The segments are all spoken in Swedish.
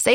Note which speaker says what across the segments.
Speaker 1: Say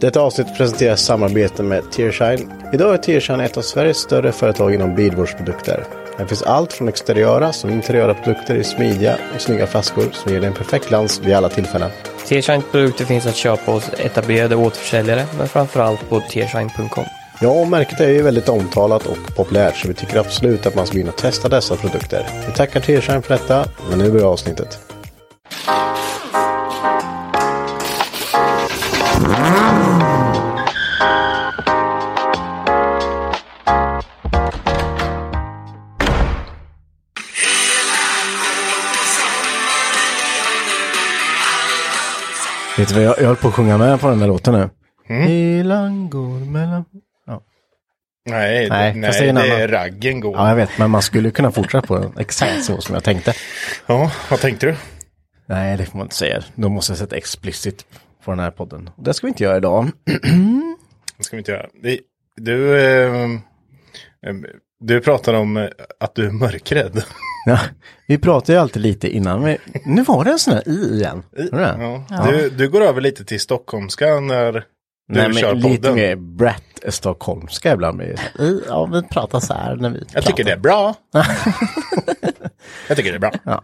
Speaker 2: Detta avsnitt presenteras i samarbete med Tearshine. Idag är Tearshine ett av Sveriges större företag inom bilvårdsprodukter. Här finns allt från exteriöra som interiöra produkter i smidiga och snygga flaskor som ger dig en perfekt glans vid alla tillfällen.
Speaker 3: Tearshine produkter finns att köpa hos etablerade återförsäljare, men framförallt på tearshine.com.
Speaker 2: Ja, och märket är ju väldigt omtalat och populärt så vi tycker absolut att man ska gå in och testa dessa produkter. Vi tackar Tearshine för detta, men nu börjar avsnittet.
Speaker 4: Vet du vad, jag, jag höll på att sjunga med på den där låten nu.
Speaker 2: Mm.
Speaker 4: Elan går mellan...
Speaker 5: Nej,
Speaker 4: Nej,
Speaker 5: nej,
Speaker 4: fast det är en
Speaker 5: det är
Speaker 4: annan.
Speaker 5: raggen går.
Speaker 4: Ja,
Speaker 5: Ja.
Speaker 4: jag vet, men man skulle kunna fortsätta på den exakt så som jag tänkte.
Speaker 5: vad tänkte du?
Speaker 4: Nej, det får man inte säga. Då måste jag sätta explicit på den här podden. Och Det ska vi inte göra idag.
Speaker 5: Det ska vi inte göra. Vi- Du, ehm, ehm, du pratar om eh, att du är mörkrädd.
Speaker 4: Ja, vi pratade ju alltid lite innan. Vi... Nu var det en sån här i igen. Hörde du det?
Speaker 5: Ja. Du, du går över lite till stockholmska när du
Speaker 4: Nej, men
Speaker 5: kör
Speaker 4: lite
Speaker 5: podden.
Speaker 4: mer Brett-stockholmska ibland. blir det så här, "I, Ja, vi pratar så här när vi
Speaker 5: Jag tycker det är bra. jag tycker det är bra.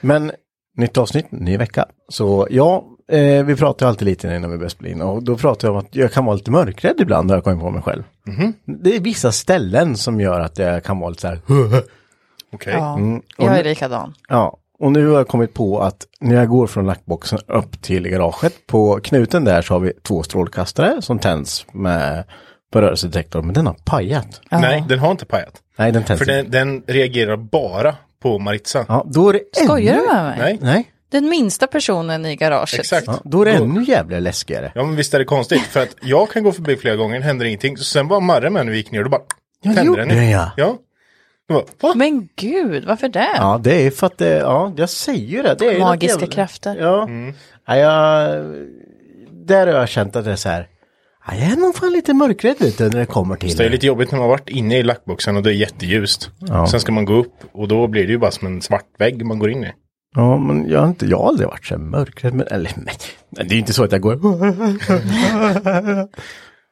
Speaker 4: Men nytt avsnitt, ny vecka. Så ja, eh, vi pratar ju alltid lite innan vi börjar spela in och då pratar jag om att jag kan vara lite mörkrädd ibland när jag kommer på mig själv.
Speaker 5: Mhm.
Speaker 4: Det är vissa ställen som gör att jag kan vara lite så här.
Speaker 5: Okej.
Speaker 6: Ja, jag är likadan.
Speaker 4: Ja, och nu har jag kommit på att när jag går från lackboxen upp till garaget på knuten där så har vi två strålkastare som tänds med på rörelsedetektorn, men den har pajat.
Speaker 5: Nej, den har inte pajat.
Speaker 4: Nej, den tänds
Speaker 5: För
Speaker 4: inte.
Speaker 5: den, den reagerar bara på Maritza.
Speaker 4: Ja, då är det
Speaker 6: Skojar
Speaker 4: ännu...
Speaker 6: du med mig?
Speaker 5: Nej.
Speaker 4: Nej,
Speaker 6: Den minsta personen i garaget.
Speaker 5: Exakt.
Speaker 4: ja, då är det ännu jävla läskigare.
Speaker 5: Ja men visst är det konstigt för att jag kan gå förbi flera gånger, det händer ingenting. Så sen var Marre med när vi gick ner och då bara
Speaker 4: det
Speaker 5: tände
Speaker 4: gjorde
Speaker 5: den.
Speaker 4: den, ja.
Speaker 5: ja. Jag bara, "Va?"
Speaker 6: Men gud, varför det?
Speaker 4: Ja, det är för att det, ja, jag säger ju det. det är ju
Speaker 6: Magiska
Speaker 4: något jävla-
Speaker 6: krafter.
Speaker 4: Ja.
Speaker 5: Mm.
Speaker 4: ja jag, där har jag känt att det är så här. Ja, jag är nog fan lite mörkrädd lite när det kommer till.
Speaker 5: Det är lite jobbigt när man varit inne i lackboxen och det är jätteljust. Sen ska man gå upp och då blir det ju bara som en svart vägg man går in i.
Speaker 4: Ja, men jag har, inte, jag har aldrig varit så här mörkrädd. Men, eller, men, men det är ju inte så att jag går.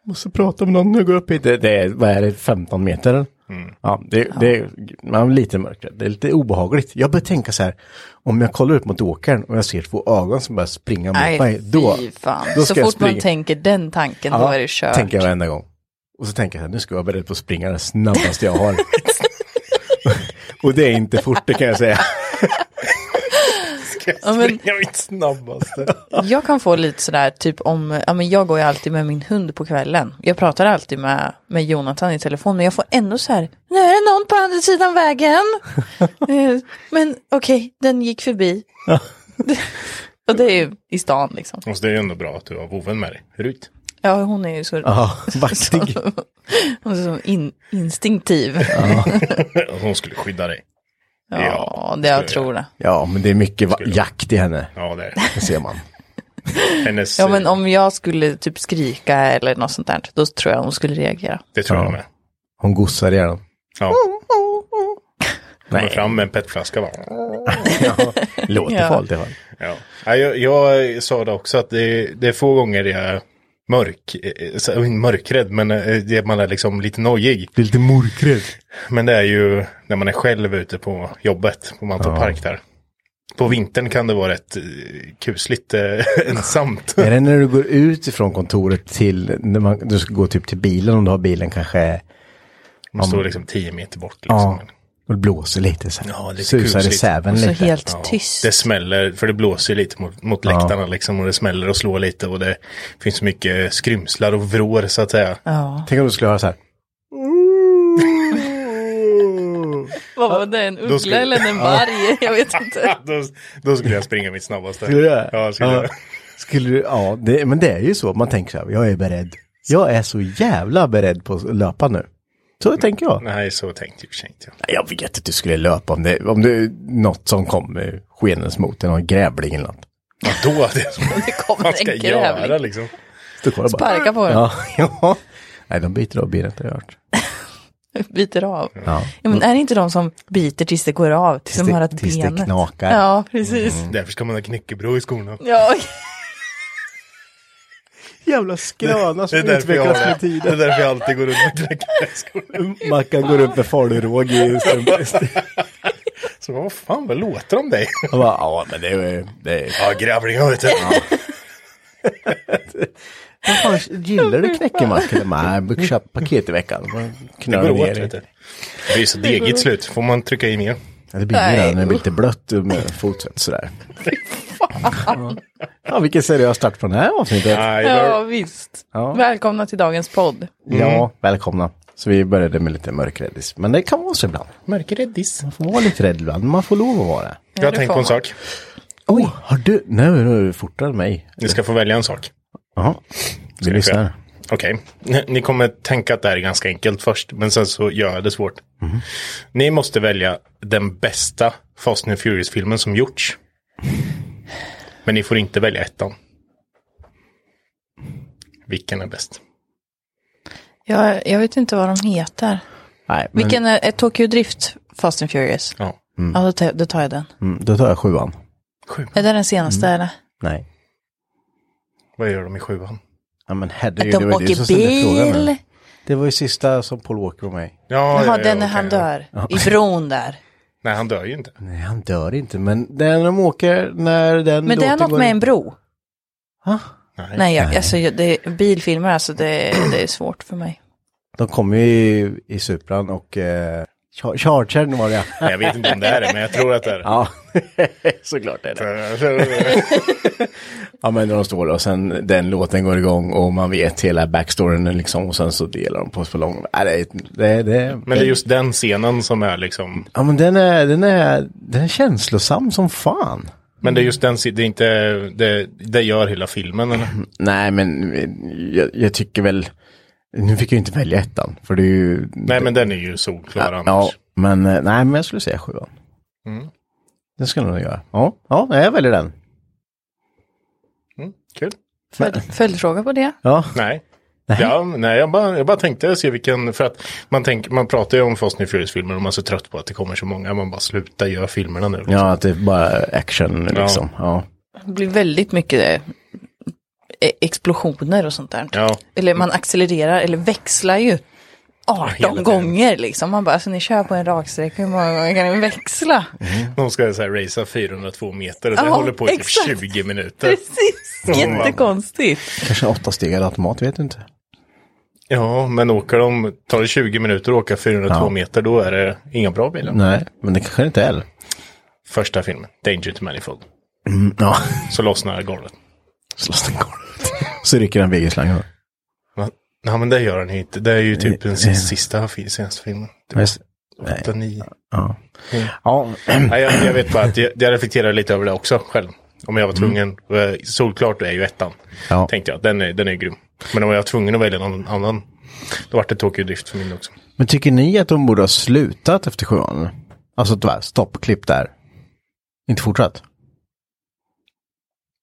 Speaker 4: Måste prata med någon när jag går upp hit. Det, det är, vad är det, 15 meter?
Speaker 5: Mm.
Speaker 4: Ja, det, det är- man är lite mörkrädd. Det är lite obehagligt. Jag börjar tänka så här. Om jag kollar ut mot åkern och jag ser två ögon som börjar springa mot mig.
Speaker 6: Nej,
Speaker 4: Då,
Speaker 6: fy fan.
Speaker 4: då
Speaker 6: Så
Speaker 4: ska jag
Speaker 6: fort man
Speaker 4: springa.
Speaker 6: tänker den tanken, då är det kört.
Speaker 4: tänker jag varenda gång. Och så tänker jag så här, nu ska jag vara beredd på att springa det snabbaste jag har. och det är inte fort, det kan jag säga.
Speaker 6: Ja, men-
Speaker 5: springa mitt snabbaste.
Speaker 6: Jag kan få lite sådär, typ om, ja men jag går ju alltid med min hund på kvällen. Jag pratar alltid med, med Jonathan i telefon, men jag får ändå så här, nu är det någon på andra sidan vägen. Eh, men okej, den gick förbi. Och det är ju i stan liksom.
Speaker 5: Och så Alltså, det är ju ändå bra att du har voven med dig. Rut.
Speaker 6: Ja, hon är ju så,
Speaker 5: Ja, vaktig.
Speaker 6: hon är så in, instinktiv.
Speaker 5: Hon skulle skydda dig.
Speaker 6: Ja, det jag tror det.
Speaker 4: Ja, men det är mycket va- jakt i henne.
Speaker 5: Ja, det är
Speaker 4: det. ser man.
Speaker 5: Hennes,
Speaker 6: Ja, men om jag skulle typ skrika eller något sånt där, då tror jag hon skulle reagera.
Speaker 5: Det tror jag med.
Speaker 4: Hon gossar ihjäl honom.
Speaker 5: Ja. Kommer fram med en petflaska bara.
Speaker 4: Låter
Speaker 5: Ja.
Speaker 4: farligt i alla fall.
Speaker 5: Ja. Ja, jag, jag sa det också att det, det är få gånger jag är mörk, eh, så- inte mörkrädd, men eh, det- man är liksom lite nojig.
Speaker 4: Lite mörkrädd.
Speaker 5: Men det är ju när man är själv ute på jobbet, på Mantorp
Speaker 4: Ja.
Speaker 5: Park där. På vintern kan det vara rätt eh, kusligt eh, ensamt.
Speaker 4: Är det när du går ut ifrån kontoret till, när man, du ska gå typ till bilen om du har bilen kanske.
Speaker 5: Man
Speaker 4: om-
Speaker 5: står liksom tio meter bort.
Speaker 4: Ja, och det blåser lite så här.
Speaker 5: Ja, lite
Speaker 4: Susar i
Speaker 5: kusligt.
Speaker 4: säven lite.
Speaker 5: tyst. Det smäller, för det blåser lite mot, mot
Speaker 4: Ja.
Speaker 5: läktarna liksom. Och det smäller och slår lite och det finns mycket skrymslar och vrår så att säga.
Speaker 6: Ja.
Speaker 4: Tänk om du skulle höra så här.
Speaker 6: Vad var det, en
Speaker 5: Då
Speaker 6: uggla
Speaker 5: skulle-
Speaker 6: eller en
Speaker 5: Ja.
Speaker 6: varg? Jag vet inte.
Speaker 5: då, då skulle jag springa mitt snabbaste.
Speaker 4: Typ. Skulle du det?
Speaker 5: Ja, skulle jag.
Speaker 4: Skulle du, ja det, men det är ju så. Man tänker så här, jag är beredd. Jag är så jävla beredd på att löpa nu. Så tänker jag.
Speaker 5: Nej, så tänkte jag i och för sig inte. jag.
Speaker 4: Nej, Jag vet att du skulle löpa om det, om det är något som kommer skenandes mot en, någon grävling eller något.
Speaker 5: Ja, då hade jag Vad ska jag göra liksom?
Speaker 4: Stå kvar och bara-
Speaker 6: Sparka på den.
Speaker 4: Ja, ja. Nej, de byter av benet har jag hört.
Speaker 6: Biter av.
Speaker 4: Ja.
Speaker 6: Ja, men är det inte de som biter tills det går av? Tills, de
Speaker 4: det-
Speaker 6: har att
Speaker 4: tills det
Speaker 6: benet.
Speaker 4: knakar.
Speaker 6: Ja, precis.
Speaker 5: Därför ska man ha knäckebröd i skorna.
Speaker 6: Ja,
Speaker 4: Jävla skröna som
Speaker 5: Det är därför jag
Speaker 4: utvecklas
Speaker 5: har
Speaker 4: med
Speaker 5: det.
Speaker 4: tiden.
Speaker 5: Det är därför jag alltid går runt med knäckebröd i skorna.
Speaker 4: Mackan går upp med faluråg i strumpan.
Speaker 5: Så vad fan, vad låter de dig?
Speaker 4: Jag bara, ja men det är... Det är...
Speaker 5: Ja, grävlingar vet du.
Speaker 4: Vad fan, gillar du knäckemackor? Nej, jag köpa paket i veckan. Man
Speaker 5: Det
Speaker 4: knölar
Speaker 5: går
Speaker 4: ner
Speaker 5: åt
Speaker 4: i.
Speaker 5: vet du. Det blir så degigt slut, får man trycka i mer.
Speaker 4: Ja, det blir ju det när det blir lite blött med fotsvett sådär. Ja, vilken seriös start på det här avsnittet.
Speaker 6: ja visst.
Speaker 4: Ja.
Speaker 6: Välkomna till dagens podd.
Speaker 4: Ja, välkomna. Så vi började med lite mörkräddis. Men det kan vara så ibland.
Speaker 5: Mörkräddis.
Speaker 4: Man får vara lite rädd ibland, men man får lov att vara det.
Speaker 5: Jag har tänkt på en sak.
Speaker 4: Oj, har du? Nu nu är du fortare än mig.
Speaker 5: Ni ska få välja en sak.
Speaker 4: Jaha, vi
Speaker 5: ni
Speaker 4: lyssnar.
Speaker 5: få- Okej, Ni- ni kommer tänka att det här är ganska enkelt först, men sen så gör jag det svårt. Ni måste välja den bästa Fast and Furious-filmen som gjorts. Men ni får inte välja ettan. Vilken är bäst?
Speaker 6: Jag, jag vet inte vad de heter.
Speaker 4: Nej, men-
Speaker 6: Vilken är, är Tokyo Drift Fast and Furious?
Speaker 5: Ja.
Speaker 4: Mm.
Speaker 6: Ja, då tar, jag- då tar jag den.
Speaker 4: Mm, då tar jag sjuan.
Speaker 6: Är det den senaste eller?
Speaker 4: Nej.
Speaker 5: Vad gör de i sjuan?
Speaker 4: Ja men herregud,
Speaker 6: Att de
Speaker 4: det var ju du
Speaker 6: åker
Speaker 4: som ställde frågan.
Speaker 6: bil.
Speaker 4: nu. Det var ju sista som Paul Walker var med i.
Speaker 6: Jaha, den när han dör.
Speaker 4: Ja.
Speaker 6: I bron där.
Speaker 5: Nej, han dör ju inte.
Speaker 4: Nej, han dör inte, men den de åker när den
Speaker 6: Men det är
Speaker 4: låten
Speaker 6: något
Speaker 4: går-
Speaker 6: med en bro.
Speaker 5: Nej,
Speaker 6: Nej, jag, alltså jag, det, är- bilfilmer alltså, det, är- det är svårt för mig.
Speaker 4: De kommer ju i, i Supran och eh, Char- Chargern var det
Speaker 5: Nej, Jag vet inte om det är det, men jag tror att det är det.
Speaker 4: Ja, såklart är
Speaker 5: det.
Speaker 4: Ja men när de står där och sen den låten går igång och man vet hela backstoryn liksom och sen så delar de på så långt. Nej, det, är- det, det,
Speaker 5: Men det är just den scenen som är liksom...
Speaker 4: Ja men den är, den är, den är känslosam som fan.
Speaker 5: Men det är just den, se- det är inte, det, det gör hela filmen eller?
Speaker 4: Nej men jag, jag tycker väl, nu fick jag ju inte välja ettan för det är ju...
Speaker 5: Nej men den är ju solklar annars.
Speaker 4: Ja, men eh, nej men jag skulle säga sjuan.
Speaker 5: Mm.
Speaker 4: Det ska jag nog göra. Ja, ja nej, jag väljer den.
Speaker 5: Mm, kul.
Speaker 6: Följ, följdfråga på det?
Speaker 4: Ja.
Speaker 5: Nej. Ja, nej, jag bara, jag bara tänkte se vilken, för att man, tänker, man pratar ju om Fast and Furious-filmer och man är så trött på att det kommer så många, man bara sluta göra filmerna nu.
Speaker 4: Ja, att det är bara action liksom. Ja.
Speaker 6: Det blir väldigt mycket eh, explosioner och sånt där.
Speaker 5: Ja.
Speaker 6: Eller man accelererar eller växlar ju 18 gånger liksom. Man bara, alltså ni kör på en raksträcka, hur många gånger kan ni växla?
Speaker 5: De ska så här racea 402 meter och det
Speaker 6: Ja,
Speaker 5: håller på i typ
Speaker 6: exakt.
Speaker 5: 20 minuter.
Speaker 6: Precis,
Speaker 5: Ja.
Speaker 6: jättekonstigt.
Speaker 4: Kanske en åttastegad automat, vet du inte.
Speaker 5: Ja, men åker de, tar det 20 minuter att åka 402
Speaker 4: Ja.
Speaker 5: meter, då är det inga bra bilar.
Speaker 4: Nej, men det kanske inte är.
Speaker 5: Första filmen, Danger to Manifold.
Speaker 4: Mm, ja.
Speaker 5: Så lossnar golvet.
Speaker 4: Så lossnar golvet. Så rycker han VG-slangen.
Speaker 5: Nej men det gör han ju inte. Det är ju typ den
Speaker 4: Eh,
Speaker 5: sista,
Speaker 4: eh.
Speaker 5: sista fi- senaste filmen.
Speaker 4: Ja, just- nej.
Speaker 5: 8, 9.
Speaker 4: Ja.
Speaker 5: Mm.
Speaker 4: Ja.
Speaker 5: Nej, jag, jag vet bara att jag, jag reflekterar lite över det också själv. Om jag var tvungen. eh, Solklart är ju ettan.
Speaker 4: Mm. Ja.
Speaker 5: Tänkte jag. Den är, den är grym. Men om jag var tvungen att välja någon annan. Då vart det tokig drift för min också.
Speaker 4: Men tycker ni att de borde ha slutat efter sjuan? Alltså tyvärr, stopp, klipp där. Inte fortsatt?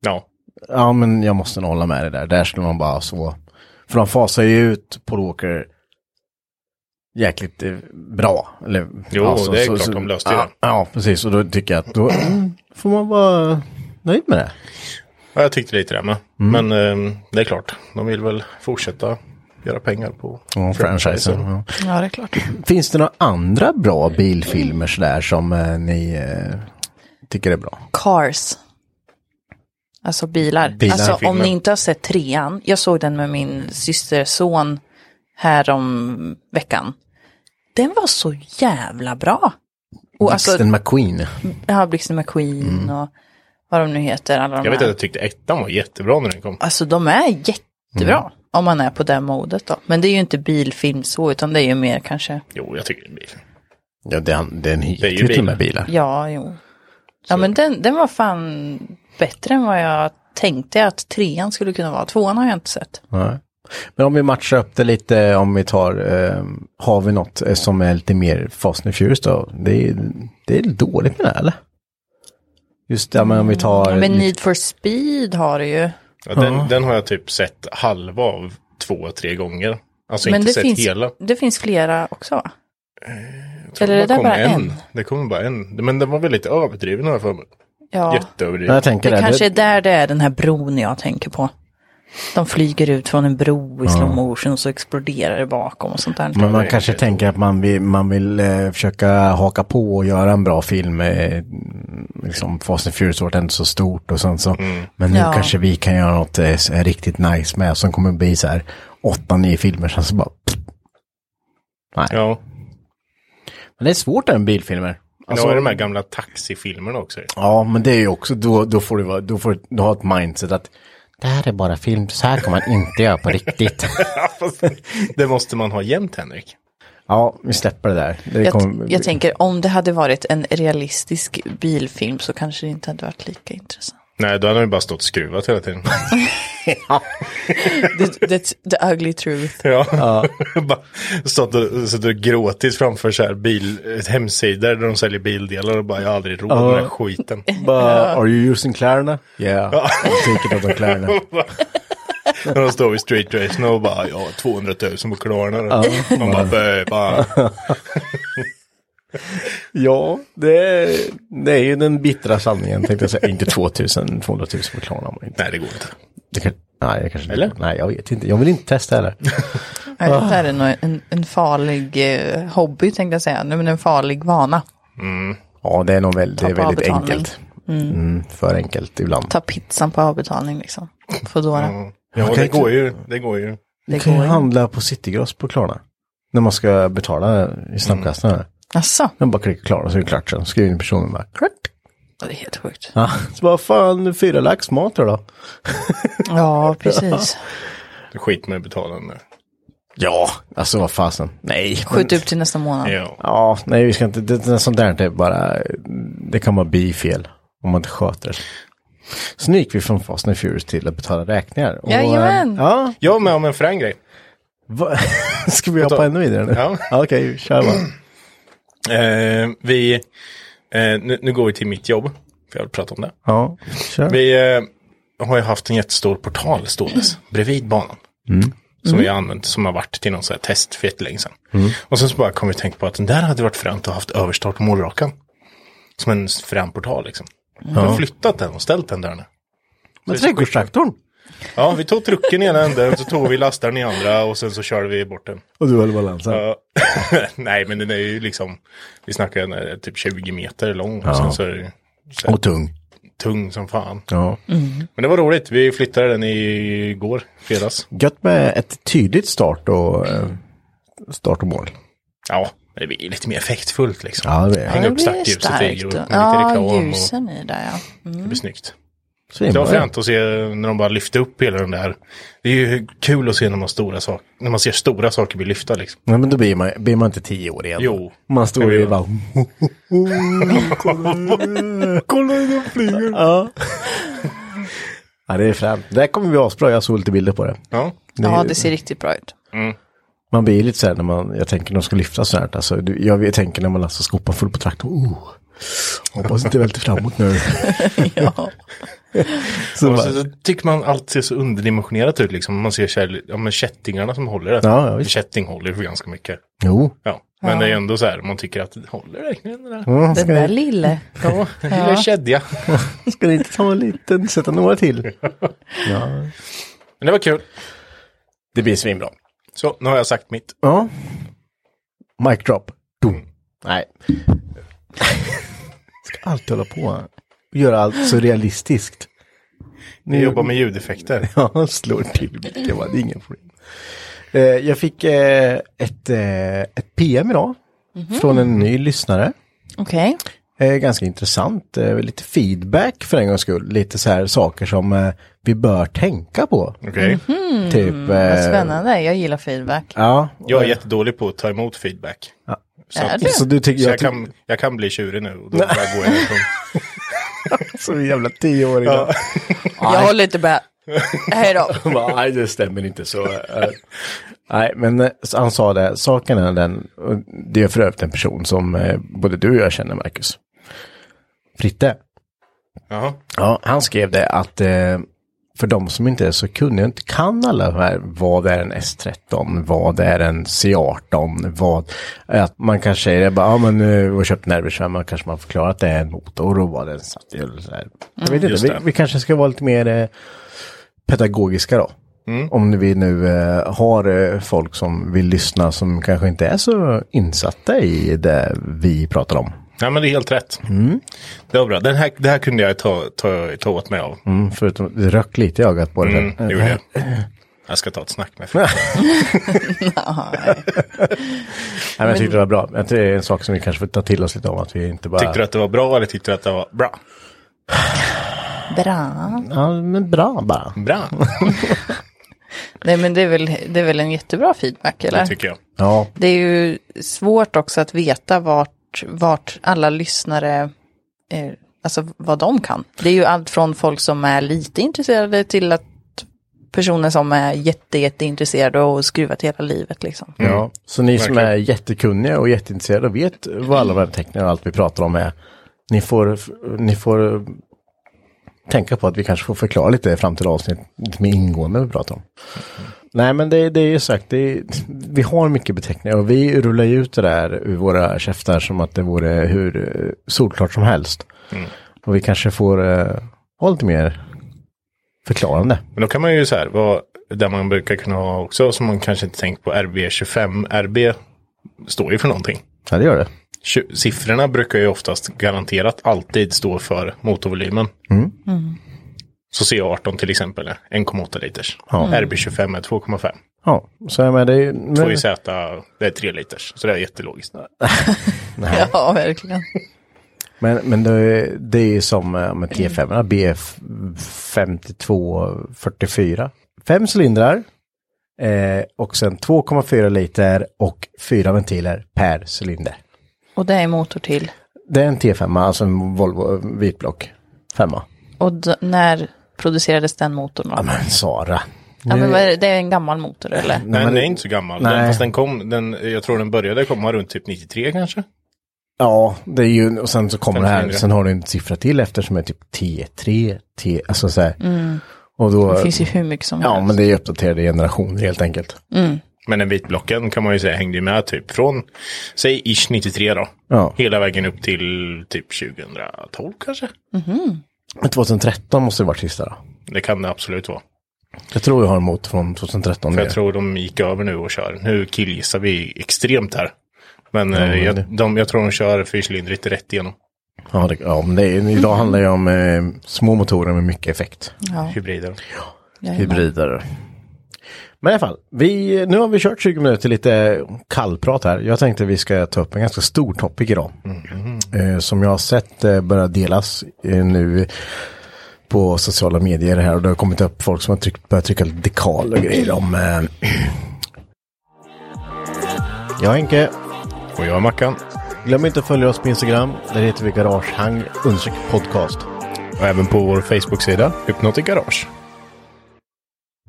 Speaker 5: Ja.
Speaker 4: Ja, men jag måste nog hålla med dig där. Där skulle man bara så. För de fasar ju ut Paul Walker jäkligt eh, bra. Eller,
Speaker 5: Jo, det är klart de löste
Speaker 4: ja,
Speaker 5: det.
Speaker 4: Ja, precis. Och då tycker jag att då mm, får man vara nöjd med det.
Speaker 5: Ja, jag tyckte lite det med.
Speaker 4: Mm.
Speaker 5: Men ehm, det är klart. De vill väl fortsätta göra pengar på
Speaker 4: Ja, franchisen. Ja.
Speaker 6: Ja, det är klart.
Speaker 4: Finns det några andra bra bilfilmer sådär som eh, ni eh, tycker är bra?
Speaker 6: Cars. Alltså bilar.
Speaker 4: Bilar i
Speaker 6: alltså om
Speaker 4: filmen.
Speaker 6: ni inte har sett trean. Jag såg den med min systerson här om veckan. Den var så jävla bra. Och alltså,
Speaker 4: Blixten McQueen.
Speaker 6: ja, Blixten McQueen och vad de nu heter. Alla de
Speaker 5: Mm. Jag vet att
Speaker 6: här.
Speaker 5: jag tyckte ettan var jättebra när den kom.
Speaker 6: Alltså de är jättebra.
Speaker 5: Mm.
Speaker 6: Om man är på det modet då. Men det är ju inte bilfilm så, utan det är ju mer kanske.
Speaker 5: Jo, jag tycker det är en bil.
Speaker 4: Ja, den, den
Speaker 5: Det är ju bilar. bilar.
Speaker 6: Ja, jo. Ja, men den, den var fan bättre än vad jag tänkte att trean skulle kunna vara. Tvåan har jag inte sett.
Speaker 4: Nej. Men om vi matchar upp det lite, om vi tar, eh, har vi något eh, som är lite mer Fast and Furious då? Det är, det är dåligt med det här, eller? Just det, men om vi tar...
Speaker 6: Ja, men Need for speed har du ju.
Speaker 5: Ja, den, den har jag typ sett halva av två, tre gånger. Alltså
Speaker 6: men
Speaker 5: inte
Speaker 6: det
Speaker 5: sett
Speaker 6: finns,
Speaker 5: hela.
Speaker 6: det finns flera också va?
Speaker 5: Jag tror
Speaker 6: Eller är det där
Speaker 5: kom
Speaker 6: bara en?
Speaker 5: Det kommer bara en. Men den var väldigt överdriven har jag för mig.
Speaker 6: Ja.
Speaker 5: Jätteöverdriven.
Speaker 6: det, kanske är där det är den här bron jag tänker på. De flyger ut från en bro i
Speaker 4: Ja.
Speaker 6: slow motion och så exploderar det bakom och sånt där.
Speaker 4: Men man kanske tänker att man vill, man vill eh, försöka haka på och göra en bra film. Eh, liksom Fast and Furious vart ändå så stort och sånt så.
Speaker 5: Mm.
Speaker 4: Men nu
Speaker 6: Ja.
Speaker 4: kanske vi kan göra något eh, så- riktigt nice med som kommer bli så här åtta, nio filmer sen så bara... Nej.
Speaker 5: Ja.
Speaker 4: Men det är svårt det här med bilfilmer. Alltså-
Speaker 5: nu är det de här gamla taxifilmerna också.
Speaker 4: Ja, men det är ju också, då, då får du, vara, då får du ha ett mindset att det här är bara film, så här kan man inte göra på riktigt.
Speaker 5: Fast det måste man ha jämt Henrik.
Speaker 4: ja, vi släpper det där. Det
Speaker 6: jag,
Speaker 4: kommer-
Speaker 6: jag tänker om det hade varit en realistisk bilfilm så kanske det inte hade varit lika intressant.
Speaker 5: Nej, då hade man ju bara stått och skruvat hela tiden.
Speaker 6: the, that's the ugly truth.
Speaker 5: Ja. Bara stått och, stått och gråtit framför så här bil, hemsidor där de säljer bildelar och bara jag har aldrig råd med den här
Speaker 4: Ja.
Speaker 5: skiten.
Speaker 4: Bara, are you using Klarna? Yeah,
Speaker 5: Ja.
Speaker 4: I'm thinking about Klarna.
Speaker 5: När de står vid street racen och bara ja, 200 000 på Klarna.
Speaker 4: Ja.
Speaker 5: Man bara bö, bara.
Speaker 4: ja, det är, det är ju den bittra sanningen tänkte jag säga. inte 2000, 200 000 på Klarna. men inte.
Speaker 5: Nej, det går inte.
Speaker 4: Det kan, nej, det kanske
Speaker 5: Eller?
Speaker 4: Nej, jag vet inte. Jag vill inte testa heller.
Speaker 6: Nej, det där är nog en, en farlig eh, hobby tänkte jag säga. Nej, men en farlig vana.
Speaker 4: Ja, det är nog väldigt, det är
Speaker 6: Ta på
Speaker 4: väldigt
Speaker 6: avbetalning.
Speaker 4: enkelt.
Speaker 6: Mm.
Speaker 4: Mm, för enkelt ibland.
Speaker 6: Ta pizzan på avbetalning liksom. Foodora.
Speaker 5: Ja,
Speaker 4: Man
Speaker 5: ja
Speaker 4: kan
Speaker 5: det
Speaker 4: inte-
Speaker 5: går ju. Det går ju.
Speaker 4: Du
Speaker 6: Det
Speaker 4: kan ju
Speaker 6: går ju.
Speaker 4: handla på Citygross på Klarna. När man ska betala i snabbkassan. Mm.
Speaker 6: Jaså?
Speaker 4: Man bara klickar Klarna så är det klart sen. Skriver in personen bara. Klick.
Speaker 6: Det är helt sjukt.
Speaker 4: Ja, så bara fan fyra lax mat då, då.
Speaker 6: Ja, precis.
Speaker 5: Det skit med betalande.
Speaker 4: Ja, alltså vad fasen. Nej.
Speaker 6: Skjut upp till nästa månad.
Speaker 5: Ja.
Speaker 4: Ja, nej vi ska inte. Det, det, sånt där är bara. Det kan bara bli fel. Om man inte sköter det. Sen gick vi från Fast and Furious till att betala räkningar. Och,
Speaker 6: Jajamän.
Speaker 4: eh, Ja,
Speaker 5: Jag med om en frän grej.
Speaker 4: va, ska vi hoppa ännu vidare nu?
Speaker 5: Ja.
Speaker 4: Okej, kör bara.
Speaker 5: Eh, vi, eh, nu, nu går vi till mitt jobb. För jag vill prata om det.
Speaker 4: Ja, kör.
Speaker 5: Vi eh, har ju haft en jättestor portal
Speaker 4: Mm.
Speaker 5: ståendes bredvid banan. Som vi har använt, som har varit till någon sån här test för jättelänge sedan.
Speaker 4: Mm.
Speaker 5: Och sen så bara kom vi att tänka på att den där hade varit fränt att ha haft överstart på målrakan. Som en frän portal liksom. Vi har flyttat den och ställt den där nu.
Speaker 4: Mm. Men trädgårdstraktorn.
Speaker 5: Ja, vi tog trucken i ena änden, så tog vi lastaren i andra och sen så körde vi bort den.
Speaker 4: Och du höll balansen.
Speaker 5: Ja. Nej, men den är ju liksom, vi snackar den är typ 20 meter lång och
Speaker 4: Ja.
Speaker 5: sen så är den så här
Speaker 4: Och tung.
Speaker 5: tung som fan.
Speaker 4: Ja.
Speaker 5: Men det var roligt, vi flyttade den igår, fredags.
Speaker 4: Gött med ett tydligt start och eh, start och mål.
Speaker 5: Ja, Men det blir lite mer effektfullt liksom.
Speaker 4: Ja, det blir-
Speaker 5: Hänga
Speaker 6: Ja,
Speaker 5: upp
Speaker 6: det blir
Speaker 5: stackljuset i
Speaker 6: starkt.
Speaker 5: och med lite reklam.
Speaker 6: Ja,
Speaker 5: och-
Speaker 6: ljusen i där ja.
Speaker 5: Det
Speaker 6: Mm.
Speaker 5: blir snyggt.
Speaker 4: Svinbra.
Speaker 5: Det var fränt att se när de bara lyfte upp hela den där. Det är ju kul att se när man, stora sak, när man ser stora saker bli lyfta liksom.
Speaker 4: Nej, men då blir man, blir man inte tio år igen.
Speaker 5: Jo.
Speaker 4: Man står ju bara...
Speaker 7: Kolla hur den flyger.
Speaker 4: Ja. ja, det är fränt. Det här kommer bli asbra. Jag såg lite bilder på det.
Speaker 5: Ja,
Speaker 4: är
Speaker 6: Ja,
Speaker 4: ju-
Speaker 6: det ser riktigt bra ut.
Speaker 4: Man blir ju lite så här när man, jag tänker när de ska lyfta så här. Alltså, du- jag, jag tänker när man lastar skopan full på traktorn. Oh, hoppas inte välter framåt nu.
Speaker 6: ja.
Speaker 4: Så
Speaker 5: och
Speaker 4: bara,
Speaker 5: så, så tycker man allt ser så underdimensionerat ut liksom. Man ser käll, ja, men kättingarna som håller det.
Speaker 4: Ja, ja, visst.
Speaker 5: Kätting håller ju för ganska mycket.
Speaker 4: jo.
Speaker 5: Ja, men
Speaker 6: Ja.
Speaker 5: det är ändå så här, man tycker att det håller verkligen det där.
Speaker 4: Ja,
Speaker 6: Den där lille.
Speaker 5: Ja,
Speaker 6: Ja.
Speaker 5: lilla kedja.
Speaker 4: Ska ni inte ta en liten, sätta några till? Ja.
Speaker 5: Men det var kul.
Speaker 4: Det blir svinbra.
Speaker 5: Så, nu har jag sagt mitt.
Speaker 4: Ja. Mic drop. Dum. Nej. Ska alltid hålla på. och Göra allt så realistiskt.
Speaker 5: Ni jobbar med ljudeffekter.
Speaker 4: Ja, slår till mycket. va? Det är inga problem. Eh, jag fick eh, ett, eh, ett PM idag.
Speaker 5: Mhm.
Speaker 4: Från en ny lyssnare.
Speaker 6: Okej.
Speaker 4: Eh, ganska intressant. Eh, lite feedback för en gångs skull. Lite så här saker som eh, vi bör tänka på.
Speaker 5: Okej. Mhm.
Speaker 4: Typ.
Speaker 6: Vad
Speaker 4: Eh,
Speaker 6: spännande. Jag gillar feedback.
Speaker 4: ja.
Speaker 5: Jag är jättedålig på att ta emot feedback.
Speaker 4: Ja.
Speaker 5: Så,
Speaker 6: Är
Speaker 4: Så du tycker
Speaker 5: så
Speaker 4: jag,
Speaker 5: jag,
Speaker 4: tycker-
Speaker 5: kan, jag kan bli tjurig nu och då bara går jag ifrån.
Speaker 4: Som en jävla tioåring.
Speaker 5: Ja.
Speaker 6: Jag håller inte med. Hej då.
Speaker 4: Han bara, Nej, det stämmer inte så. eh." Nej, men eh, så han sa det, saken är den, och det är för övrigt en person som eh, både du och jag känner, Marcus. Fritte.
Speaker 5: Jaha.
Speaker 4: Ja, han skrev det att eh, för de som inte är så kunniga, inte kan alla de här, vad är en S13, vad är en C18, vad, att man kanske säger det bara, ja men nu har jag köpt nervkärma, kanske man förklarar att det är en motor och vad den satt i eller så här. Jag vet
Speaker 5: Mm. Just
Speaker 4: inte, vi,
Speaker 5: det.
Speaker 4: vi kanske ska vara lite mer eh, pedagogiska då.
Speaker 5: Mm.
Speaker 4: Om vi nu eh, har eh, folk som vill lyssna som kanske inte är så insatta i det vi pratar om.
Speaker 5: Nej men det är helt rätt.
Speaker 4: Mm.
Speaker 5: Det var bra. Den här, det här kunde jag ta, ta, ta åt mig av.
Speaker 4: Mm, förutom, det röck lite i ögat på det.
Speaker 5: Mm, det gjorde jag. Jag ska ta ett snack med Fredrik.
Speaker 4: Nej, men jag tyckte det var bra. Jag tror Det är en sak som vi kanske får ta till oss lite om. Att vi inte bara...
Speaker 5: Tyckte du att det var bra eller tyckte du att det var bra?
Speaker 6: Bra.
Speaker 4: Ja, men bra bara.
Speaker 5: Bra,
Speaker 6: Nej men det är, väl, det är väl en jättebra feedback eller?
Speaker 5: det tycker jag.
Speaker 4: Ja,
Speaker 6: Det är ju svårt också att veta vart, vart alla lyssnare, eh, alltså vad de kan. Det är ju allt från folk som är lite intresserade till att personer som är jätte, jätteintresserade och skruvat hela livet liksom.
Speaker 4: ja. Så ni som
Speaker 5: Verkligen.
Speaker 4: är jättekunniga och jätteintresserade och vet vad alla värmeteckningar och allt vi pratar om är. Ni får, ni får tänka på att vi kanske får förklara lite i framtida avsnitt. Lite mer ingående vad vi pratar om. Nej men det, det är ju sagt, det är, vi har mycket beteckningar och vi rullar ju ut det där ur våra käftar som att det vore hur eh, solklart som helst. Och vi kanske får eh, ha lite mer förklarande.
Speaker 5: Men då kan man ju så här, vad, där man brukar kunna ha också, som man kanske inte tänkt på, RB25. RB står ju för någonting.
Speaker 4: Ja, det gör det.
Speaker 5: Tju- Siffrorna brukar ju oftast garanterat alltid stå för motorvolymen.
Speaker 4: Mm.
Speaker 5: Mm. Så C18 till exempel är 1,8 liters. RB25 är 2,5.
Speaker 4: Ja, så jag menar, det är ju...
Speaker 5: 2IZ det är 3 liters. Så det är jättelogiskt.
Speaker 6: Ja, verkligen.
Speaker 4: Men, men det, är- det är ju som eh, med T5,
Speaker 6: Mm.
Speaker 4: B5244. Fem cylindrar eh, och sen 2,4 liter och fyra ventiler per cylinder.
Speaker 6: Och det är motor till.
Speaker 4: Det är en T5, alltså en Volvo eh, vitblock. Femma.
Speaker 6: Och d- när producerades den motorn?
Speaker 4: Ja
Speaker 6: Då?
Speaker 4: men Sara.
Speaker 6: Ja, men vad är det? det är en gammal motor eller?
Speaker 5: Nej,
Speaker 4: men
Speaker 5: den
Speaker 4: det-
Speaker 5: är inte så gammal.
Speaker 4: Nej.
Speaker 5: Den, fast den kom, den, jag tror den började komma runt typ 93 kanske.
Speaker 4: Ja, det är ju, och sen så kommer det här,
Speaker 5: Femcylindrar.
Speaker 4: sen har du en siffra till efter som är typ T3, T, alltså så här. Och då,
Speaker 6: Mm. Det finns ju hur mycket som
Speaker 4: ja
Speaker 6: helst.
Speaker 4: men det är ju uppdaterade generationer helt enkelt.
Speaker 5: Men den vitblocken kan man ju säga hängde ju med typ från, säg ish 93 då.
Speaker 4: Ja.
Speaker 5: Hela vägen upp till typ 2012 kanske.
Speaker 4: Men 2013 måste det varit sista då.
Speaker 5: Det kan det absolut vara.
Speaker 4: Jag tror jag har en motor från 2013.
Speaker 5: För
Speaker 4: nu.
Speaker 5: jag tror de gick över nu och kör. Nu killgissar vi extremt här. Men eh, jag, de, jag tror de kör fyrcylindrigt rätt igenom.
Speaker 4: Ja, det, ja men det är, idag handlar det om eh, små motorer med mycket effekt.
Speaker 6: Ja,
Speaker 5: Hybrider.
Speaker 6: jajamän.
Speaker 4: Hybrider. Men i alla fall, vi, nu har vi kört 20 minuter lite kallprat här. Jag tänkte vi ska ta upp en ganska stor topic idag. Eh, som jag har sett eh, börja delas eh, nu på sociala medier här. Och det har kommit upp folk som har tryckt, börjat trycka dekal och grejer om... Eh, jag är Henke.
Speaker 5: Och jag är Mackan.
Speaker 4: Glöm inte att följa oss på Instagram. Där heter vi Garagehang understreck podcast.
Speaker 5: Och även på vår Facebook-sida, Hypnotic Garage.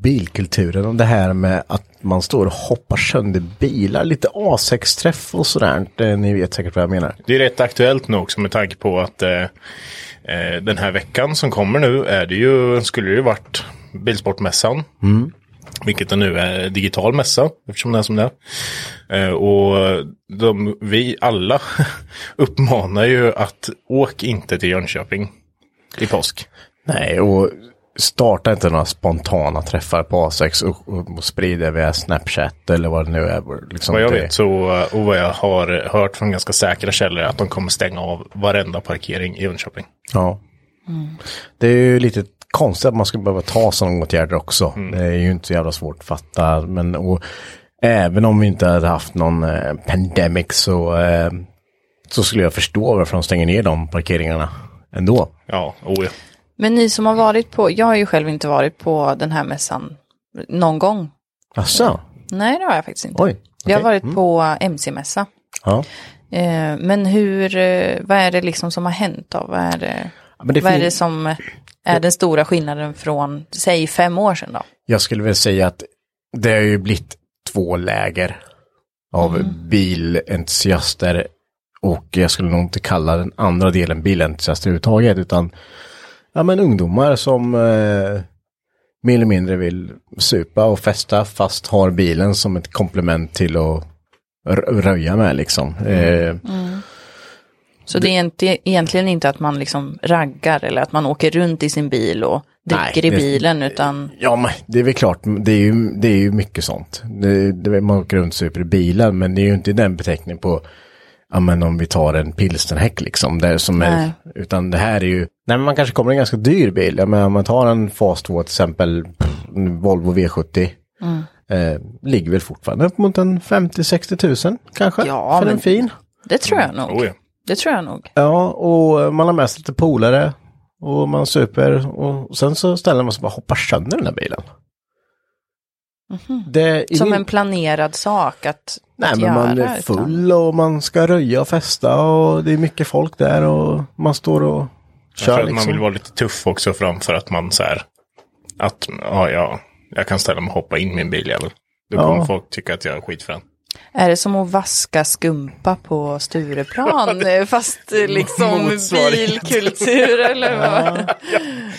Speaker 4: bilkulturen och det här med att man står och hoppar sönder bilar. Lite A6-träff och sådär. Eh, Ni vet säkert vad jag menar.
Speaker 5: Det är rätt aktuellt nu också med tanke på att eh, eh, den här veckan som kommer nu är det ju, skulle det ju varit Bilsportmässan.
Speaker 4: Mm.
Speaker 5: Vilket det nu är en digital mässa, eftersom det är som det är. Eh, och de, vi alla uppmanar ju att åk inte till Jönköping i påsk.
Speaker 4: Nej, och starta inte några spontana träffar på A6 och, och, och sprid det via Snapchat eller vad det nu är. Liksom
Speaker 5: vad jag
Speaker 4: det-
Speaker 5: vet så, och vad jag har hört från ganska säkra källor, är att de kommer stänga av varenda parkering i Jönköping.
Speaker 4: Ja. Det är ju lite konstigt att man ska behöva ta sådana åtgärder också. Det är ju inte så jävla svårt att fatta. Men och, även om vi inte hade haft någon eh, pandemic så, eh, så skulle jag förstå varför de stänger ner de parkeringarna ändå.
Speaker 5: Ja, oh ja.
Speaker 6: Men ni som har varit på, jag har ju själv inte varit på den här mässan någon gång.
Speaker 4: Jaså?
Speaker 6: Nej, det har jag faktiskt inte.
Speaker 4: Oj.
Speaker 6: Jag har
Speaker 4: okej.
Speaker 6: varit
Speaker 4: Mm.
Speaker 6: på MC-mässa.
Speaker 4: Ja.
Speaker 6: Eh, Men hur, eh, vad är det liksom som har hänt då? Vad är det,
Speaker 4: men det
Speaker 6: vad är
Speaker 4: fin-
Speaker 6: det som är den stora skillnaden från, säg fem år sedan då?
Speaker 4: Jag skulle väl säga att det har ju blivit två läger av bilentusiaster och jag skulle nog inte kalla den andra delen bilentusiaster överhuvudtaget utan ja, men ungdomar som eh, mer eller mindre vill supa och festa fast har bilen som ett komplement till att r- röja med liksom. Eh,
Speaker 6: Så det är inte, egentligen inte att man liksom raggar eller att man åker runt i sin bil och dricker
Speaker 4: det-
Speaker 6: i bilen utan
Speaker 4: Ja, men det är väl klart, det är ju, det är ju mycket sånt. Det, det, man åker runt super i bilen, men det är ju inte den beteckningen på, ja men om vi tar en pilsnerhäck liksom, där som är,
Speaker 2: Nej.
Speaker 4: utan det här är ju, nej men man kanske kommer i en ganska dyr bil, ja, men om man tar en fas 2 till exempel, pff, en Volvo V70,
Speaker 6: Mm.
Speaker 4: eh, ligger väl fortfarande upp mot en 50-60 tusen kanske,
Speaker 6: Ja,
Speaker 4: för en
Speaker 6: men-
Speaker 4: fin.
Speaker 6: det tror jag
Speaker 4: Mm.
Speaker 5: oh
Speaker 4: Oh
Speaker 6: nog. Det tror jag nog.
Speaker 4: Ja, och man har med sig lite polare och man super och sen så ställer man sig och bara hoppar sönder den där bilen. Det är
Speaker 6: Mhm. Som
Speaker 4: ingen-
Speaker 6: en planerad sak att,
Speaker 4: Nej,
Speaker 6: att
Speaker 4: men man
Speaker 6: göra,
Speaker 4: är
Speaker 6: utan-
Speaker 4: full och man ska röja och festa och det är mycket folk där och man står och
Speaker 5: Jag tror
Speaker 4: kör
Speaker 5: att man
Speaker 4: liksom.
Speaker 5: vill vara lite tuff också framför att man så här, att ja, ja, jag kan ställa mig och hoppa in i min biljävel. Då
Speaker 6: Ja.
Speaker 5: kommer folk tycka att jag är skitfrän.
Speaker 6: Är det som att vaska skumpa på Stureplan eh, fast eh, liksom
Speaker 5: Motsvarighet.
Speaker 6: bilkultur eller vad?